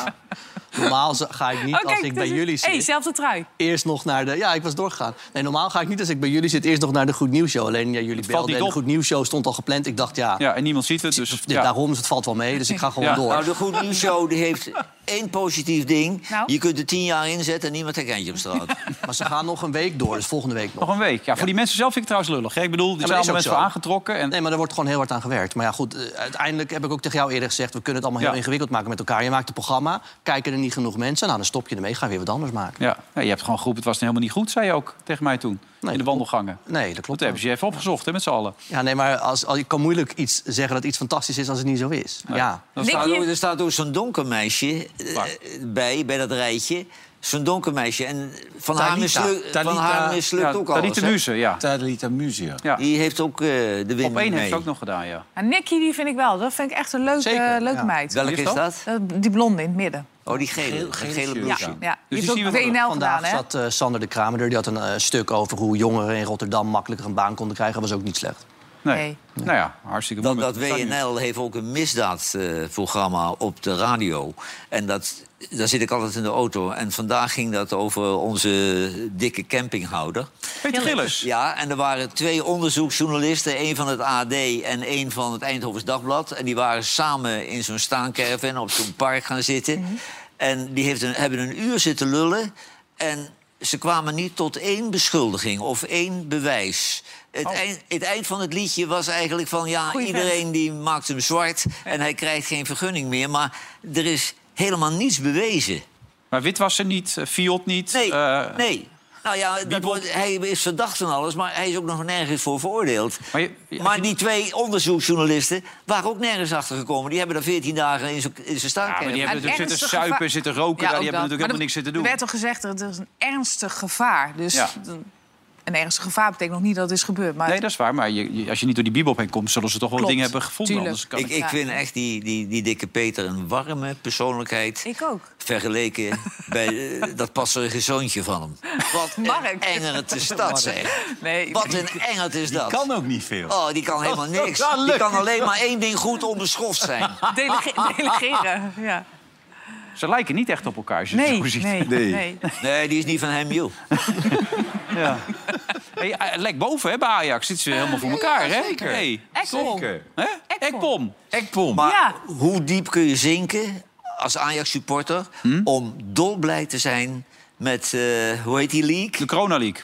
Speaker 8: Normaal z- ga ik [LAUGHS] niet
Speaker 6: Oh,
Speaker 8: als ik bij
Speaker 6: dus-
Speaker 8: jullie zit...
Speaker 6: hey, zelfde trui.
Speaker 8: eerst nog naar de... Ja, ik was doorgegaan. Nee, normaal ga ik niet als ik bij jullie zit eerst nog naar de Goed Nieuws Show. Alleen ja, jullie
Speaker 2: valt
Speaker 8: belden
Speaker 2: niet
Speaker 8: en de
Speaker 2: op.
Speaker 8: Goed Nieuws Show stond al gepland. Ik dacht, ja,
Speaker 2: Ja, en niemand ziet het, dus...
Speaker 8: ja,
Speaker 2: Ja.
Speaker 8: daarom, dus het valt wel mee. Dus ik ga gewoon
Speaker 2: Ja.
Speaker 8: door.
Speaker 4: Nou, de Goed Nieuws Show die heeft één positief ding.
Speaker 6: Nou?
Speaker 4: Je kunt er tien jaar inzetten en niemand herkent je op straat. Nou,
Speaker 8: Maar ze gaan nog een week door, dus volgende week nog.
Speaker 2: Nog een week. Ja, voor die mensen zelf vind ik het trouwens lullig. hè? Ik bedoel, die
Speaker 8: maar
Speaker 2: zijn
Speaker 8: is
Speaker 2: allemaal mensen
Speaker 8: ook
Speaker 2: voor
Speaker 8: zo.
Speaker 2: aangetrokken. En...
Speaker 8: Nee, maar er wordt gewoon heel hard aan gewerkt. Maar ja, goed, eh, uiteindelijk heb ik ook tegen jou eerder gezegd... we kunnen het allemaal heel
Speaker 2: Ja.
Speaker 8: ingewikkeld maken met elkaar. Je maakt een programma, kijken er niet genoeg mensen... nou, dan stop je ermee, ga weer wat anders maken.
Speaker 2: Ja. Ja, je hebt gewoon geroepen, het was helemaal niet goed, zei je ook tegen mij toen.
Speaker 8: Nee,
Speaker 2: in de
Speaker 8: dat
Speaker 2: wandelgangen.
Speaker 8: Nee, dat
Speaker 2: Dat
Speaker 8: klopt.
Speaker 2: hebben ze je even opgezocht, hè, met z'n allen.
Speaker 8: Ja, nee, maar als, als, je kan moeilijk iets zeggen dat iets fantastisch is... als het niet zo is. Ja.
Speaker 4: Er
Speaker 6: Nick,
Speaker 4: staat,
Speaker 6: je-
Speaker 4: ook- er staat ook zo'n donker meisje eh,
Speaker 2: Waar?
Speaker 4: bij, bij dat rijtje. Zo'n donker meisje. En van haar
Speaker 5: Talita.
Speaker 4: mislukt, van
Speaker 5: Talita.
Speaker 4: haar mislukt
Speaker 2: Ja,
Speaker 4: ook
Speaker 2: Tadita
Speaker 4: alles. hè?
Speaker 2: Muze, ja.
Speaker 5: Tadalita Muzia.
Speaker 2: ja.
Speaker 4: Die heeft ook eh, de wind
Speaker 2: Op één
Speaker 4: mee.
Speaker 2: heeft ze ook nog gedaan, ja.
Speaker 6: Maar Nicky, die vind ik wel. Dat vind ik echt een leuke,
Speaker 8: Zeker,
Speaker 6: leuke
Speaker 8: ja.
Speaker 6: meid.
Speaker 4: Welke
Speaker 2: Wie
Speaker 4: is
Speaker 2: is dat?
Speaker 4: dat?
Speaker 6: Eh, Die blonde in het midden.
Speaker 4: Oh, die gele. Geel, gele,
Speaker 6: Ja,
Speaker 4: blouse.
Speaker 6: ja.
Speaker 2: Dus die
Speaker 6: Die
Speaker 2: zien we
Speaker 6: heeft ook WNL
Speaker 8: Vandaag
Speaker 6: gedaan, hè?
Speaker 8: zat eh, Sander de Kramerdeur. Die had een eh, stuk over hoe jongeren in Rotterdam makkelijker een baan konden krijgen. Dat was ook niet slecht.
Speaker 2: Nee.
Speaker 6: Nee.
Speaker 2: Nou ja, hartstikke
Speaker 4: Want
Speaker 2: mooi.
Speaker 4: dat
Speaker 2: Met-
Speaker 4: WNL heeft ook een misdaadprogramma eh, op de radio. En dat, daar zit ik altijd in de auto. En vandaag ging dat over onze dikke campinghouder.
Speaker 2: Peter Gillis.
Speaker 4: Ja, en er waren twee onderzoeksjournalisten. één van het AD en één van het Eindhovens Dagblad. En die waren samen in zo'n staankerven op zo'n park gaan zitten.
Speaker 6: Mhm.
Speaker 4: En die heeft een, hebben een uur zitten lullen. En ze kwamen niet tot één beschuldiging of één bewijs. Het, eind, het eind van het liedje was eigenlijk van... ja,
Speaker 6: Oh. Goeie vent.
Speaker 4: iedereen die maakt hem zwart en hij krijgt geen vergunning meer. Maar er is helemaal niets bewezen.
Speaker 2: Maar wit was ze niet, eh, Fiot niet.
Speaker 4: Nee,
Speaker 2: eh,
Speaker 4: nee. Nou ja, dat wordt, hij is verdacht van alles, maar hij is ook nog nergens voor veroordeeld.
Speaker 2: Maar
Speaker 4: Maar,
Speaker 2: je- je-
Speaker 4: die twee onderzoeksjournalisten waren ook nergens achter gekomen. Die hebben daar 14 dagen in zo'n- in zijn
Speaker 2: Ja,
Speaker 4: staart.
Speaker 2: maar die hebben
Speaker 6: Een
Speaker 2: natuurlijk zitten
Speaker 6: ernstig
Speaker 2: suipen,
Speaker 6: gevaar-
Speaker 2: zitten roken.
Speaker 6: Ja,
Speaker 2: daar,
Speaker 6: ook
Speaker 2: die hebben natuurlijk
Speaker 6: dat. Maar
Speaker 2: helemaal
Speaker 6: er-
Speaker 2: niks zitten doen.
Speaker 6: Er werd al gezegd, dat het is een ernstig gevaar. Dus
Speaker 2: Ja.
Speaker 6: dan- een ernstig gevaar betekent nog niet dat het is gebeurd. Maar
Speaker 2: Nee, dat is waar. Maar je, je- als je niet door die bibop heen komt, zullen ze toch wel
Speaker 6: Klopt,
Speaker 2: dingen hebben gevonden.
Speaker 6: tuurlijk.
Speaker 2: Anders kan
Speaker 4: Ik, ik vind echt die, die, die dikke Peter een warme persoonlijkheid.
Speaker 6: Ik ook.
Speaker 4: Vergeleken bij eh, dat passerige zoontje van hem. Wat
Speaker 6: Mark.
Speaker 4: Engert de stad, zeg.
Speaker 6: [LAUGHS] Nee,
Speaker 4: Wat een engert is dat.
Speaker 5: kan ook niet veel.
Speaker 4: Oh, die kan helemaal niks. Die kan alleen maar één ding goed onbeschoft
Speaker 2: [LAUGHS]
Speaker 4: zijn.
Speaker 6: Delege- delegeren, ja.
Speaker 2: Ze lijken niet echt op elkaar. Als je
Speaker 6: Nee,
Speaker 2: het zo ziet. [LAUGHS]
Speaker 6: nee, Nee. nee.
Speaker 4: Nee, die is niet van hem, joh.
Speaker 2: Ja. Hey, eh, lek boven, hè, bij Ajax. Zitten ze helemaal voor elkaar, hè?
Speaker 4: zeker.
Speaker 2: Hey.
Speaker 6: Ekpom.
Speaker 2: Zeker. Hè? Ekpom.
Speaker 5: Ekpom.
Speaker 4: Maar
Speaker 6: Ja.
Speaker 4: hoe diep kun je zinken als Ajax-supporter...
Speaker 2: Hm?
Speaker 4: om dolblij te zijn met, eh, hoe heet die league?
Speaker 2: De Corona League.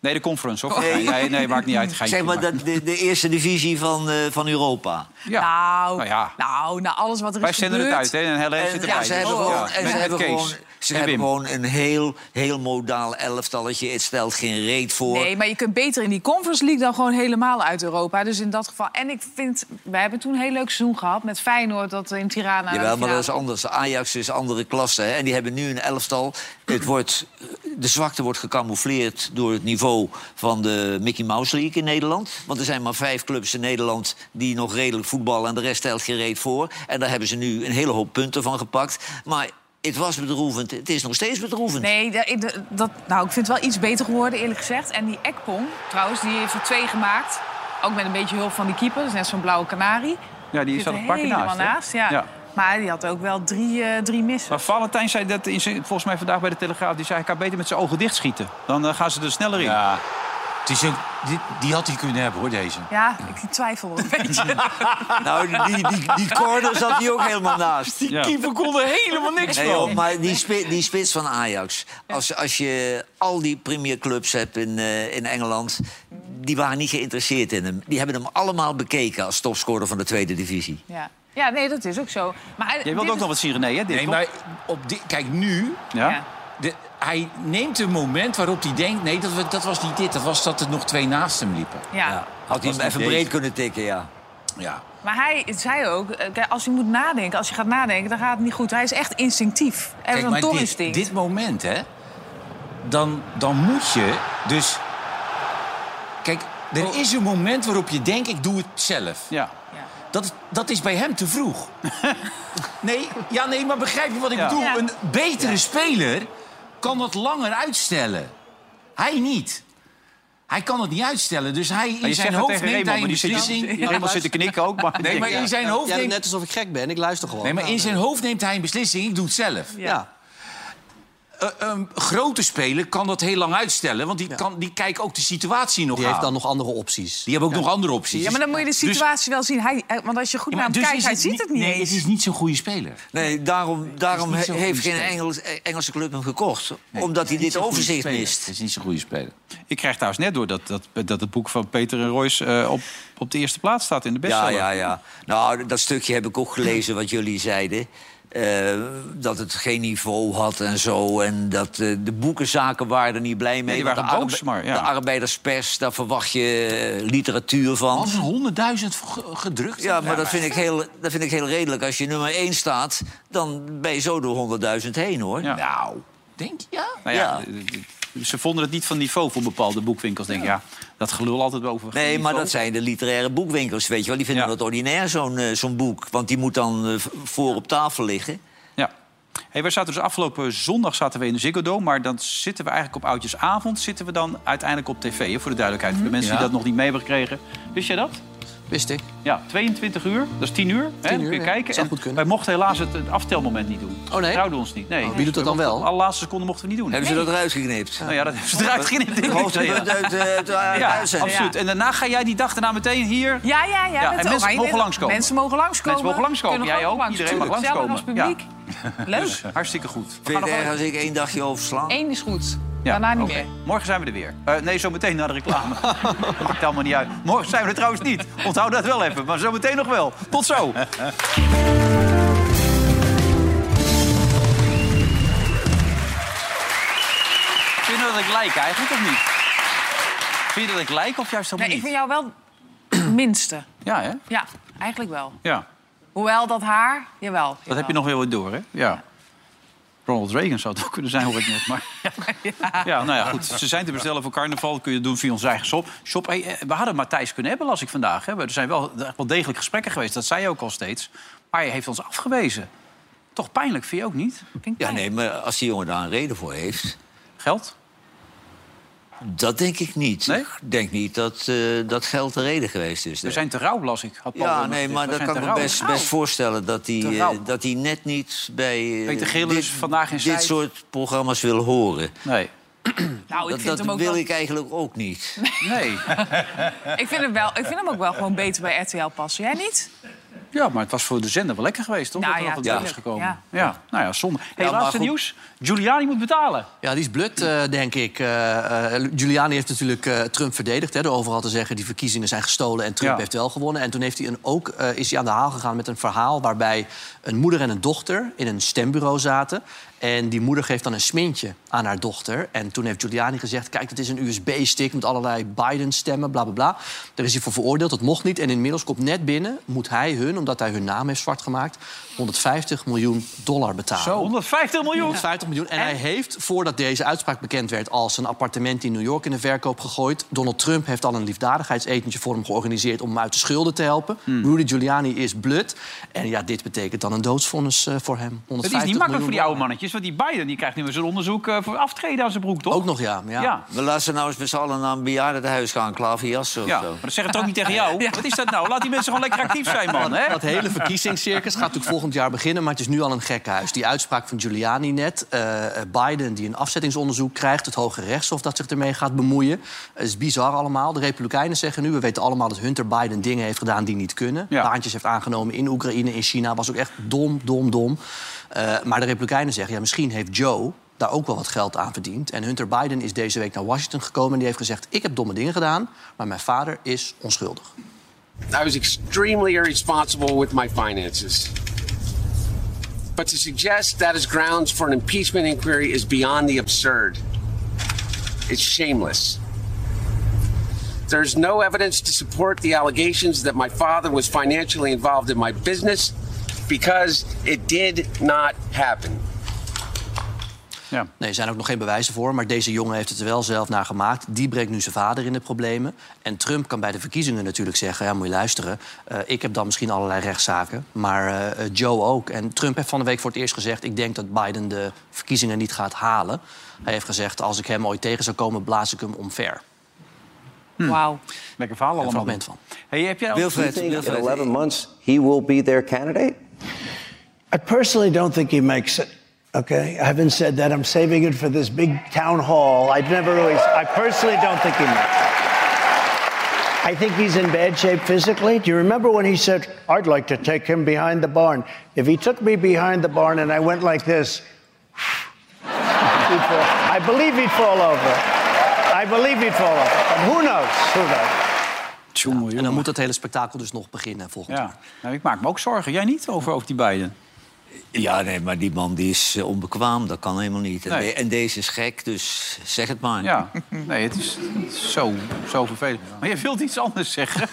Speaker 2: Nee, de conference, of?
Speaker 4: Nee.
Speaker 2: Nee, nee, maakt niet uit. Geintje,
Speaker 4: Oh. Zeg maar
Speaker 2: maar-
Speaker 4: dat de, de eerste divisie van, eh, van Europa.
Speaker 2: Ja.
Speaker 6: Nou,
Speaker 2: Nou
Speaker 6: nou,
Speaker 2: ja.
Speaker 6: na alles wat er
Speaker 2: Wij
Speaker 6: is
Speaker 2: zenden
Speaker 6: gebeurd...
Speaker 2: het uit, hè? En Helene
Speaker 4: En,
Speaker 2: zit
Speaker 4: ja,
Speaker 2: erbij.
Speaker 4: ze hebben
Speaker 2: dus-
Speaker 4: gewoon,
Speaker 2: ja,
Speaker 4: en
Speaker 2: met-
Speaker 4: ze
Speaker 2: met
Speaker 4: hebben
Speaker 2: Kees
Speaker 4: gewoon, ze
Speaker 2: en
Speaker 4: hebben
Speaker 2: Wim.
Speaker 4: gewoon een heel, heel modaal elftalletje. Het stelt geen reet voor.
Speaker 6: Nee, maar je kunt beter in die Conference League dan gewoon helemaal uit Europa. Dus in dat geval... En ik vind... We hebben toen een heel leuk seizoen gehad met Feyenoord... dat in Tirana...
Speaker 4: Jawel,
Speaker 6: de
Speaker 4: maar dat is
Speaker 6: finale-
Speaker 4: anders. Ajax is andere klasse. Hè? En die hebben nu een elftal. Het wordt, eh, de zwakte wordt gecamoufleerd door het niveau van de Mickey Mouse League in Nederland. Want er zijn maar vijf clubs in Nederland die nog redelijk voetballen... en de rest stelt geen reet voor. En daar hebben ze nu een hele hoop punten van gepakt. Maar het was bedroevend. Het is nog steeds bedroevend.
Speaker 6: Nee, da- ik- da- dat, nou, ik vind het wel iets beter geworden, eerlijk gezegd. En die Ekpom, trouwens, die heeft er twee gemaakt. Ook met een beetje hulp van die keeper. Dat is net zo'n blauwe kanarie.
Speaker 2: Ja, die zat
Speaker 6: er
Speaker 2: een paar keer
Speaker 6: helemaal
Speaker 2: naast, hè?
Speaker 6: ja.
Speaker 2: Ja.
Speaker 6: Maar die had ook wel drie, eh, drie missen.
Speaker 2: Maar Valentijn zei dat in zijn- volgens mij vandaag bij de Telegraaf. Die zei, hij kan beter met zijn ogen dicht schieten. Dan eh, gaan ze er sneller in.
Speaker 5: Ja. Het is ook, die, die had hij kunnen hebben, hoor, deze.
Speaker 6: Ja, ik twijfel wel een beetje.
Speaker 4: Nou, die, die, die corner zat hij ook helemaal naast.
Speaker 2: Ja.
Speaker 5: keeper kon er helemaal niks
Speaker 4: Nee, joh, maar die, spi- die spits van Ajax. Als, als je al die premierclubs hebt in, eh, in Engeland... die waren niet geïnteresseerd in hem. Die hebben hem allemaal bekeken als topscorer van de tweede divisie.
Speaker 6: ja. ja, nee, dat is ook zo. Maar
Speaker 2: Jij wilt ook nog wat zien, René, hè? Dit,
Speaker 5: Nee,
Speaker 2: toch?
Speaker 5: maar op di- kijk, nu...
Speaker 2: Ja?
Speaker 5: de- hij neemt een moment waarop hij denkt... Nee, dat, wa- dat was niet dit. Dat was dat er nog twee naast hem liepen.
Speaker 6: Ja.
Speaker 4: Had hij hem
Speaker 5: was
Speaker 4: even
Speaker 5: niet
Speaker 4: breed
Speaker 5: deze.
Speaker 4: kunnen tikken, ja.
Speaker 5: Ja.
Speaker 6: Maar hij zei ook, eh, kijk, als je moet nadenken, als je gaat nadenken, dan gaat het niet goed. Hij is echt instinctief. Hij heeft een
Speaker 5: dit,
Speaker 6: doorinstinct.
Speaker 5: dit moment, hè, dan, dan moet je dus... Kijk, er is een moment waarop je denkt, ik doe het zelf.
Speaker 2: Oh. Ja.
Speaker 5: Dat, dat is bij hem te
Speaker 2: [LAUGHS]
Speaker 5: vroeg. nee, ja, nee, maar begrijp je wat ik
Speaker 2: Ja.
Speaker 5: bedoel?
Speaker 6: Ja.
Speaker 5: Een betere speler kan dat langer uitstellen. Hij niet. Hij kan het niet uitstellen, dus hij
Speaker 2: Maar
Speaker 5: in
Speaker 2: je
Speaker 5: zijn
Speaker 2: zegt dat
Speaker 5: hoofd
Speaker 2: tegen
Speaker 5: neemt
Speaker 2: Raymond,
Speaker 5: hij
Speaker 2: maar
Speaker 5: een
Speaker 2: die zit,
Speaker 5: beslissing.
Speaker 2: Raymond zit te knikken ook.
Speaker 5: [LAUGHS]
Speaker 2: Maar
Speaker 5: Nee, maar in zijn hoofd
Speaker 8: Ja,
Speaker 5: neemt
Speaker 8: net alsof ik gek ben. Ik luister gewoon.
Speaker 5: Nee, maar in zijn hoofd neemt hij een beslissing. Ik doe het zelf.
Speaker 8: Ja. Ja.
Speaker 5: Een- een Eh, ehm, grote speler kan dat heel lang uitstellen. Want die, kan, die kijkt ook de situatie nog
Speaker 8: Die
Speaker 5: aan.
Speaker 8: heeft dan nog andere opties.
Speaker 5: Die hebben ook nog andere opties.
Speaker 6: Ja, maar dan moet je de situatie wel zien. Hij, eh, want als je goed
Speaker 5: Ja,
Speaker 6: naar
Speaker 5: maar
Speaker 6: hem
Speaker 5: dus
Speaker 6: kijkt,
Speaker 5: is
Speaker 6: hij ziet het niet
Speaker 5: Nee,
Speaker 6: eens.
Speaker 5: het is niet zo'n goede speler.
Speaker 4: Nee, daarom, daarom
Speaker 5: niet zo'n
Speaker 4: he- heeft
Speaker 5: goede
Speaker 4: geen
Speaker 5: speler.
Speaker 4: Engels- eh, Engelse club hem gekocht. omdat
Speaker 5: Het is
Speaker 4: hij
Speaker 5: niet
Speaker 4: dit
Speaker 5: zo'n goede
Speaker 4: overzicht
Speaker 5: speler.
Speaker 4: mist.
Speaker 5: Het is niet zo'n goede speler.
Speaker 2: Ik krijg trouwens net door dat, dat, dat het boek van Peter en Royce eh, op, op de eerste plaats staat in de
Speaker 4: Ja,
Speaker 2: bestseller.
Speaker 4: ja, ja. Nou, dat stukje heb ik ook gelezen wat jullie zeiden. Eh, dat het geen niveau had en zo. En dat eh, de boekenzaken waren er niet blij mee.
Speaker 2: die
Speaker 4: want
Speaker 2: waren
Speaker 4: de
Speaker 2: boos, maar ja.
Speaker 4: De arbeiderspers, daar verwacht je eh, literatuur
Speaker 2: Oh,
Speaker 4: van.
Speaker 5: Als een honderdduizend ge- gedrukt.
Speaker 4: Ja, maar dat vind, ik heel, dat vind ik heel redelijk. Als je nummer 1 staat, dan ben je zo door 100.000 heen, hoor.
Speaker 2: Ja.
Speaker 5: Nou, denk je? Ja.
Speaker 2: Nou ja,
Speaker 4: Ja.
Speaker 2: d- d- Ze vonden het niet van niveau voor bepaalde boekwinkels. Denk ik, ja, dat gelul altijd over.
Speaker 4: Nee, maar
Speaker 2: niveau.
Speaker 4: dat zijn de literaire boekwinkels, weet je wel. Die vinden
Speaker 2: Ja.
Speaker 4: dat ordinair, zo'n eh, zo'n boek. Want die moet dan eh, v- voor op tafel liggen.
Speaker 2: Ja. Hey, wij zaten dus afgelopen zondag zaten we in de Ziggo Dome, maar dan zitten we eigenlijk op oudjesavond zitten we dan uiteindelijk op tv. hè, voor de duidelijkheid, voor de mensen die
Speaker 5: Mhm. Ja.
Speaker 2: dat nog niet mee hebben gekregen. Wist jij dat?
Speaker 8: Wist ik.
Speaker 2: Ja, 22 uur, dat is 10 uur. hè,
Speaker 8: 10
Speaker 2: kun
Speaker 8: uur,
Speaker 2: je
Speaker 8: ja.
Speaker 2: kijken.
Speaker 8: Zou
Speaker 2: En
Speaker 8: goed kunnen.
Speaker 2: Wij mochten helaas het, het aftelmoment niet doen.
Speaker 8: Oh, nee?
Speaker 2: Trouwden ons niet. Nee.
Speaker 8: wie doet dat dan wel?
Speaker 2: De allerlaatste seconde mochten we niet doen.
Speaker 4: Hebben ze dat eruit geknipt?
Speaker 2: Nou ja, dat hebben
Speaker 8: [LAUGHS]
Speaker 2: ze eruit
Speaker 4: Het
Speaker 2: geen
Speaker 4: hoogtepunt uit eh, uit [LAUGHS] de
Speaker 2: Ja,
Speaker 4: uitzending.
Speaker 2: absoluut. En daarna ga jij die dag daarna meteen hier.
Speaker 6: Ja, ja, ja.
Speaker 2: Ja,
Speaker 6: met
Speaker 2: en
Speaker 6: de
Speaker 2: mensen
Speaker 6: oranje-
Speaker 2: mogen langskomen.
Speaker 6: Mensen mogen langskomen.
Speaker 2: Mensen mogen langskomen.
Speaker 6: Kunnen
Speaker 2: Jij
Speaker 6: gewoon
Speaker 2: ook. Iedereen mag
Speaker 6: Gezellig
Speaker 2: langskomen.
Speaker 6: als publiek. Leuk.
Speaker 2: Hartstikke goed. We
Speaker 4: Vind
Speaker 2: gaan nog
Speaker 4: je het erg
Speaker 2: even-
Speaker 4: als ik één dagje oversla?
Speaker 6: Eén is goed.
Speaker 2: Ja,
Speaker 6: Daarna niet
Speaker 2: oké.
Speaker 6: meer.
Speaker 2: Morgen zijn we er weer. Eh, nee, zometeen na de reclame. [LAUGHS] Dat maakt allemaal niet uit. Morgen zijn we er trouwens niet. Onthoud dat wel even. Maar zometeen nog wel. Tot zo. Vind je dat ik lijk eigenlijk of niet? Vind je dat ik lijk of juist helemaal
Speaker 6: Nee, ik vind
Speaker 2: niet?
Speaker 6: jou wel [CLEARS THROAT] minste.
Speaker 2: Ja, hè?
Speaker 6: Ja, eigenlijk wel.
Speaker 2: Ja.
Speaker 6: Hoewel dat haar, jawel.
Speaker 2: Dat heb je nog wel weer door, hè? Ja. Ronald Reagan zou het ook kunnen zijn, hoor ik net.
Speaker 6: [LAUGHS]
Speaker 2: Maar ja. nou ja, goed. Ze zijn te bestellen voor carnaval. Kun je doen via onze eigen shop. shop hey, eh, we hadden Matthijs kunnen hebben, las ik vandaag. Hè. Er zijn wel, echt wel degelijk gesprekken geweest. Dat zei je ook al steeds. Maar hij heeft ons afgewezen. Toch pijnlijk, vind je ook niet?
Speaker 4: Ja, nee, maar als die jongen daar een reden voor heeft...
Speaker 2: Geld?
Speaker 4: Dat denk ik niet. Ik denk niet dat, eh, dat geld de reden geweest is.
Speaker 2: We zijn te rauw, las ik. Had Paul Witteman
Speaker 4: Ja, nee,
Speaker 2: gezegd.
Speaker 4: maar
Speaker 2: We
Speaker 4: dat
Speaker 2: zijn
Speaker 4: kan ik
Speaker 2: te
Speaker 4: me
Speaker 2: rauw.
Speaker 4: best, best voorstellen... dat hij
Speaker 2: Te
Speaker 4: eh,
Speaker 2: rauw.
Speaker 4: dat hij net niet bij eh,
Speaker 2: Peter Gillis, Vandaag in
Speaker 4: dit
Speaker 2: Zeist. Oh,
Speaker 4: soort programma's wil horen.
Speaker 2: Nee.
Speaker 6: Nou, ik
Speaker 4: dat
Speaker 6: vind
Speaker 4: dat
Speaker 6: hem ook
Speaker 4: wil
Speaker 6: wel-
Speaker 4: ik eigenlijk ook
Speaker 2: [LAUGHS]
Speaker 4: niet. [LAUGHS]
Speaker 2: Nee.
Speaker 6: Ik vind, hem wel, ik vind hem ook wel gewoon beter bij RTL passen. Jij niet?
Speaker 2: Ja, maar het was voor de zender wel lekker geweest, toch?
Speaker 6: Nou
Speaker 2: dat er
Speaker 6: ja,
Speaker 2: nog wat binnen is
Speaker 6: tuurlijk,
Speaker 2: gekomen. Ja.
Speaker 6: ja.
Speaker 2: nou ja, zonde. Hey,
Speaker 8: Ja, maar
Speaker 2: laatste
Speaker 8: goed.
Speaker 2: nieuws. Giuliani moet betalen.
Speaker 8: Ja, die is blut, eh, denk ik. Eh, eh, Giuliani heeft natuurlijk eh, Trump verdedigd... Hè, door overal te zeggen die verkiezingen zijn gestolen en Trump
Speaker 2: Ja.
Speaker 8: heeft wel gewonnen. En toen heeft hij een, ook, eh, is hij aan de haal gegaan met een verhaal... waarbij een moeder en een dochter in een stembureau zaten... En die moeder geeft dan een smintje aan haar dochter. En toen heeft Giuliani gezegd... kijk, het is een USB-stick met allerlei Biden-stemmen, bla, bla, bla. Daar is hij voor veroordeeld, dat mocht niet. En inmiddels komt net binnen, moet hij hun, omdat hij hun naam heeft zwart gemaakt... 150 miljoen dollar betalen.
Speaker 2: Zo, 150 Ah, miljoen.
Speaker 8: 150 miljoen. En, hij heeft, voordat deze uitspraak bekend werd... al zijn appartement in New York in de verkoop gegooid. Donald Trump heeft al een liefdadigheidsetentje voor hem georganiseerd... om hem uit de schulden te helpen.
Speaker 2: Hmm.
Speaker 8: Rudy Giuliani is blut. En ja, dit betekent dan een doodsvonnis eh, voor hem. 150
Speaker 2: Het is niet makkelijk voor die
Speaker 8: miljoen
Speaker 2: oude mannetjes. Want die Biden die krijgt nu weer zo'n onderzoek eh, voor aftreden aan zijn broek, toch?
Speaker 8: Ook nog, ja. maar ja.
Speaker 2: Ja.
Speaker 4: We laten ze nou eens met z'n allen naar een bejaardentehuis gaan... klaverjassen of
Speaker 2: Ja,
Speaker 4: zo.
Speaker 2: maar dat zeggen het ook niet tegen
Speaker 8: [LAUGHS]
Speaker 2: jou. Wat is dat nou? Laat die mensen gewoon lekker actief zijn, man. Hè?
Speaker 8: Dat hele verkiezingscircus gaat natuurlijk volgend jaar beginnen, maar het is nu al een gekkenhuis. Die uitspraak van Giuliani net, eh, Biden die een afzettingsonderzoek krijgt, het Hoge Rechtshof dat zich ermee gaat bemoeien. Het is bizar allemaal. De Republikeinen zeggen nu, we weten allemaal dat Hunter Biden dingen heeft gedaan die niet kunnen.
Speaker 2: Ja.
Speaker 8: Baantjes heeft aangenomen in Oekraïne, in China, was ook echt dom, dom, dom. Eh, maar de Republikeinen zeggen, ja, misschien heeft Joe daar ook wel wat geld aan verdiend. En Hunter Biden is deze week naar Washington gekomen... en die heeft gezegd, ik heb domme dingen gedaan... maar mijn vader is onschuldig.
Speaker 13: I was extremely irresponsible with my finances. But to suggest that is grounds for an impeachment inquiry is beyond the absurd. It's shameless. There's no evidence to support the allegations that my father was financially involved in my business because it did not happen.
Speaker 8: Nee, er zijn ook nog geen bewijzen voor. Maar deze jongen heeft het er wel zelf naar gemaakt. Die brengt nu zijn vader in de problemen. En Trump kan bij de verkiezingen natuurlijk zeggen... ja, moet je luisteren, eh, ik heb dan misschien allerlei rechtszaken. Maar eh, eh, Joe ook. En Trump heeft van de week voor het eerst gezegd... ik denk dat Biden de verkiezingen niet gaat halen. Hij heeft gezegd, als ik hem ooit tegen zou komen... blaas ik hem omver.
Speaker 6: Wauw.
Speaker 2: Lekker verhaal allemaal.
Speaker 8: fragment van.
Speaker 2: Hey, heb jij al...
Speaker 14: you think in 11 months he will be their candidate?
Speaker 15: I personally don't think he makes it. Okay, I haven't said that. I'm saving it for this big town hall. I'd never really. I personally don't think he makes it. I think he's in bad shape physically. Do you remember when he said, "I'd like to take him behind the barn"? If he took me behind the barn and I went like this, [LAUGHS] he'd fall. I believe he'd fall over. I believe he'd fall over. But who knows? Who knows?
Speaker 8: Ja, en dan moet dat hele spektakel dus nog beginnen volgend jaar.
Speaker 2: Ja. Nou, ik maak me ook zorgen. Jij niet over, over die Biden?
Speaker 4: Ja, nee, maar die man die is eh, onbekwaam. Dat kan helemaal niet. En,
Speaker 2: Nee.
Speaker 4: de- en deze is gek, dus zeg het maar.
Speaker 2: Ja. Nee, het is, het is zo, zo vervelend. Maar jij wilt iets anders zeggen.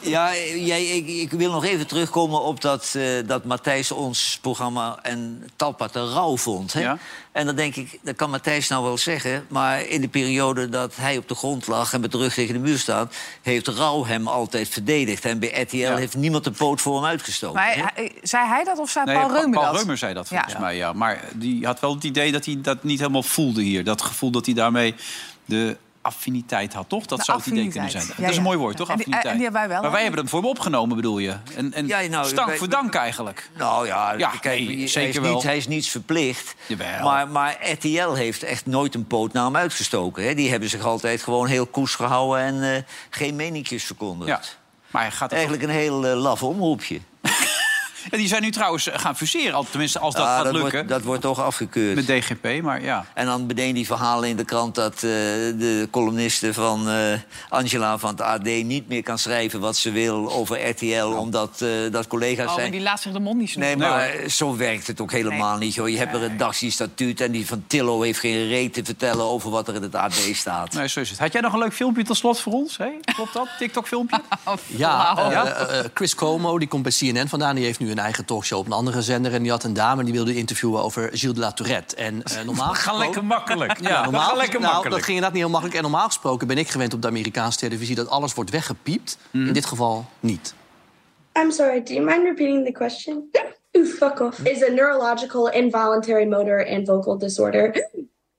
Speaker 4: Ja, jij, ik, ik wil nog even terugkomen op dat, eh, dat Matthijs ons programma en Talpa te rauw vond. Hè? En dan denk ik, dat kan Matthijs nou wel zeggen... maar in de periode dat hij op de grond lag en met de rug tegen de muur staat... heeft rouw hem altijd verdedigd. En bij RTL heeft niemand de poot voor hem uitgestoken.
Speaker 6: Maar hij- hij- zei hij dat of zei
Speaker 2: Nee,
Speaker 6: Paul Reumer dat?
Speaker 2: Reumer zei dat volgens
Speaker 6: Ja.
Speaker 2: mij, ja. Maar die had wel het idee dat hij dat niet helemaal voelde hier. Dat gevoel dat hij daarmee de affiniteit had, toch? Dat
Speaker 6: De
Speaker 2: zou het idee kunnen zijn.
Speaker 6: affiniteit. Ja,
Speaker 2: dat is een
Speaker 6: ja.
Speaker 2: mooi woord, toch?
Speaker 6: En die-
Speaker 2: Affiniteit.
Speaker 6: en die hebben wij wel,
Speaker 2: Maar wij
Speaker 6: hè?
Speaker 2: hebben dat voor hem opgenomen, bedoel je? En, en
Speaker 4: Ja, nou,
Speaker 2: stank
Speaker 4: wij-
Speaker 2: voor dank eigenlijk.
Speaker 4: Nou ja,
Speaker 2: Ja,
Speaker 4: kijk,
Speaker 2: nee,
Speaker 4: hij- hij,
Speaker 2: zeker
Speaker 4: is
Speaker 2: wel.
Speaker 4: Niet, hij is niets verplicht.
Speaker 2: Jawel.
Speaker 4: Maar, maar RTL heeft echt nooit een poot naar hem uitgestoken. Hè. Die hebben zich altijd gewoon heel koers gehouden en eh, geen meninkjes verkondigd.
Speaker 2: Ja. Maar hij gaat
Speaker 4: Eigenlijk een heel eh, laf omroepje.
Speaker 2: En die zijn nu trouwens eh, gaan fuseren, al- tenminste als dat
Speaker 4: Ah,
Speaker 2: gaat lukken.
Speaker 4: Wordt, dat wordt toch afgekeurd.
Speaker 2: Met DGP, maar ja.
Speaker 4: En dan meteen die verhalen in de krant dat eh, de columniste van eh, Angela van het AD niet meer kan schrijven wat ze wil over RTL, omdat eh, dat collega's
Speaker 6: Oh, maar
Speaker 4: zijn.
Speaker 6: die laat zich de mond niet
Speaker 4: Nee,
Speaker 6: snoeren.
Speaker 4: maar eh, zo werkt het ook helemaal niet. Hoor. Je hebt een redactiestatuut en die van Tillo heeft geen reet te vertellen over wat er in het AD staat.
Speaker 2: Nee, zo is het. Had jij nog een leuk filmpje tot slot voor ons?
Speaker 6: [LAUGHS]
Speaker 2: Hè? Klopt dat? TikTok-filmpje?
Speaker 6: Oh,
Speaker 8: Ja,
Speaker 2: Wauw.
Speaker 8: eh, eh, Chris Como, die komt bij CNN vandaan. Die heeft nu een eigen talkshow op een andere zender. En die had een dame die wilde interviewen over Gilles de La Tourette. En eh, normaal
Speaker 5: Dat gaat
Speaker 8: gesproken-
Speaker 5: lekker makkelijk. Ja, dat
Speaker 8: normaal
Speaker 5: gaat
Speaker 8: ges-
Speaker 5: lekker
Speaker 8: nou,
Speaker 5: makkelijk.
Speaker 8: dat ging inderdaad niet heel makkelijk. En normaal gesproken ben ik gewend op de Amerikaanse televisie... dat alles wordt weggepiept.
Speaker 5: Mhm.
Speaker 8: In dit geval niet.
Speaker 16: I'm sorry, do you mind repeating the question? Ooh, fuck off. Is a neurological involuntary motor and vocal disorder.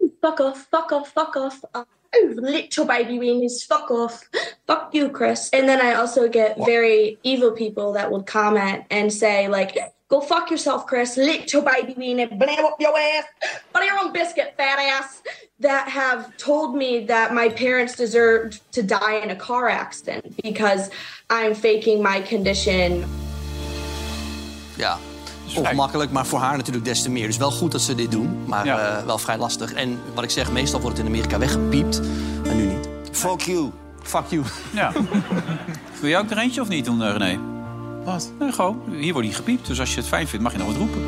Speaker 16: Ooh, fuck off, fuck off, fuck off. Uh, ooh, little baby weenies, fuck off. Fuck you, Chris. And then I also get very evil people that would comment and say, like, go fuck yourself, Chris, little baby weenie, blam up your ass, butter your own biscuit, fat ass, that have told me that my parents deserved to die in a car accident because I'm faking my condition
Speaker 8: Ja, ongemakkelijk, maar voor haar natuurlijk des te meer. Dus wel goed dat ze dit doen, maar eh, wel vrij lastig. En wat ik zeg, meestal wordt het in Amerika weggepiept, maar nu niet.
Speaker 4: Fuck you.
Speaker 8: Fuck you.
Speaker 2: [LAUGHS] Ja. Wil jij ook er eentje of niet doen, eh, René? Wat? Nee, gewoon. Hier wordt niet gepiept, dus als je het fijn vindt, mag je nog wat
Speaker 5: [LAUGHS]
Speaker 2: roepen.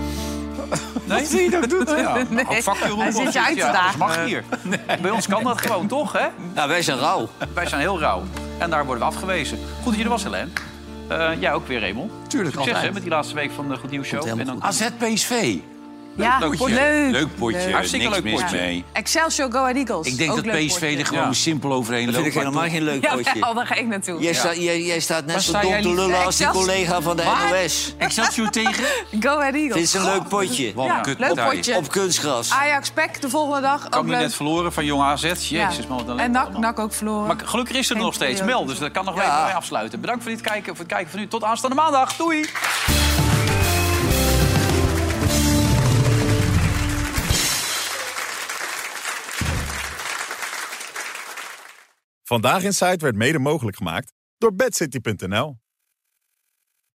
Speaker 2: Nee?
Speaker 5: Wat zie je
Speaker 6: [LAUGHS]
Speaker 5: dat doen?
Speaker 2: [LAUGHS] Ja, nou,
Speaker 5: Nee.
Speaker 2: ook fuck je roepen.
Speaker 5: Hij zit je
Speaker 2: of zoiets.
Speaker 5: uit te
Speaker 2: Ja, dat
Speaker 5: dagen.
Speaker 2: mag hier. Bij ons kan dat gewoon, toch? Hè?
Speaker 4: Nou, wij zijn rauw.
Speaker 2: Wij zijn heel rauw. En daar worden we afgewezen. Goed dat je er was, Helen. Eh jij ook weer, Raymond.
Speaker 5: Tuurlijk,
Speaker 2: Succes
Speaker 5: altijd.
Speaker 2: hè, met die laatste week van de Goed Nieuws Show. En dan
Speaker 5: AZ PSV.
Speaker 6: Ja,
Speaker 5: leuk potje.
Speaker 6: leuk.
Speaker 5: Leuk potje.
Speaker 2: Hartstikke
Speaker 5: Niks
Speaker 2: leuk
Speaker 5: mis
Speaker 6: potje.
Speaker 5: mee.
Speaker 6: Excelsior Go Ahead Eagles.
Speaker 5: Ik denk
Speaker 6: Ook
Speaker 5: dat
Speaker 6: leuk
Speaker 5: PSV
Speaker 6: potje.
Speaker 5: er gewoon simpel overheen
Speaker 4: Dat
Speaker 5: loopt.
Speaker 4: vind ik helemaal geen leuk potje.
Speaker 6: [LAUGHS] Ja, oh, daar ga ik naartoe.
Speaker 4: Jij, staat- jij, jij staat
Speaker 5: Waar
Speaker 4: net zo
Speaker 5: sta
Speaker 4: dom
Speaker 5: jij
Speaker 4: te
Speaker 5: lief-
Speaker 4: lullen als die
Speaker 6: Excelsior-
Speaker 4: collega van de
Speaker 6: Wat?
Speaker 2: [LAUGHS]
Speaker 4: NOS.
Speaker 5: Excelsior tegen?
Speaker 4: uh,
Speaker 6: Go Ahead Eagles.
Speaker 4: Dit is een leuk potje.
Speaker 6: Wat een Ja, kutpartij. leuk potje. Ah,
Speaker 4: Op kunstgras.
Speaker 6: Ajax Pek de volgende dag.
Speaker 2: kan
Speaker 6: ook
Speaker 2: je
Speaker 6: leuk.
Speaker 2: net verloren van Jong AZ. Jezus, man, wat een
Speaker 6: en
Speaker 2: ellende
Speaker 6: NAC,
Speaker 2: allemaal.
Speaker 6: NAC ook verloren.
Speaker 2: Maar gelukkig is er nog steeds Mel, dus dat kan nog wel even mee afsluiten. Bedankt voor, dit kijken, voor het kijken van nu. Tot aanstaande maandag. Doei!
Speaker 9: Vandaag in Zuid werd mede mogelijk gemaakt door bedcity.nl.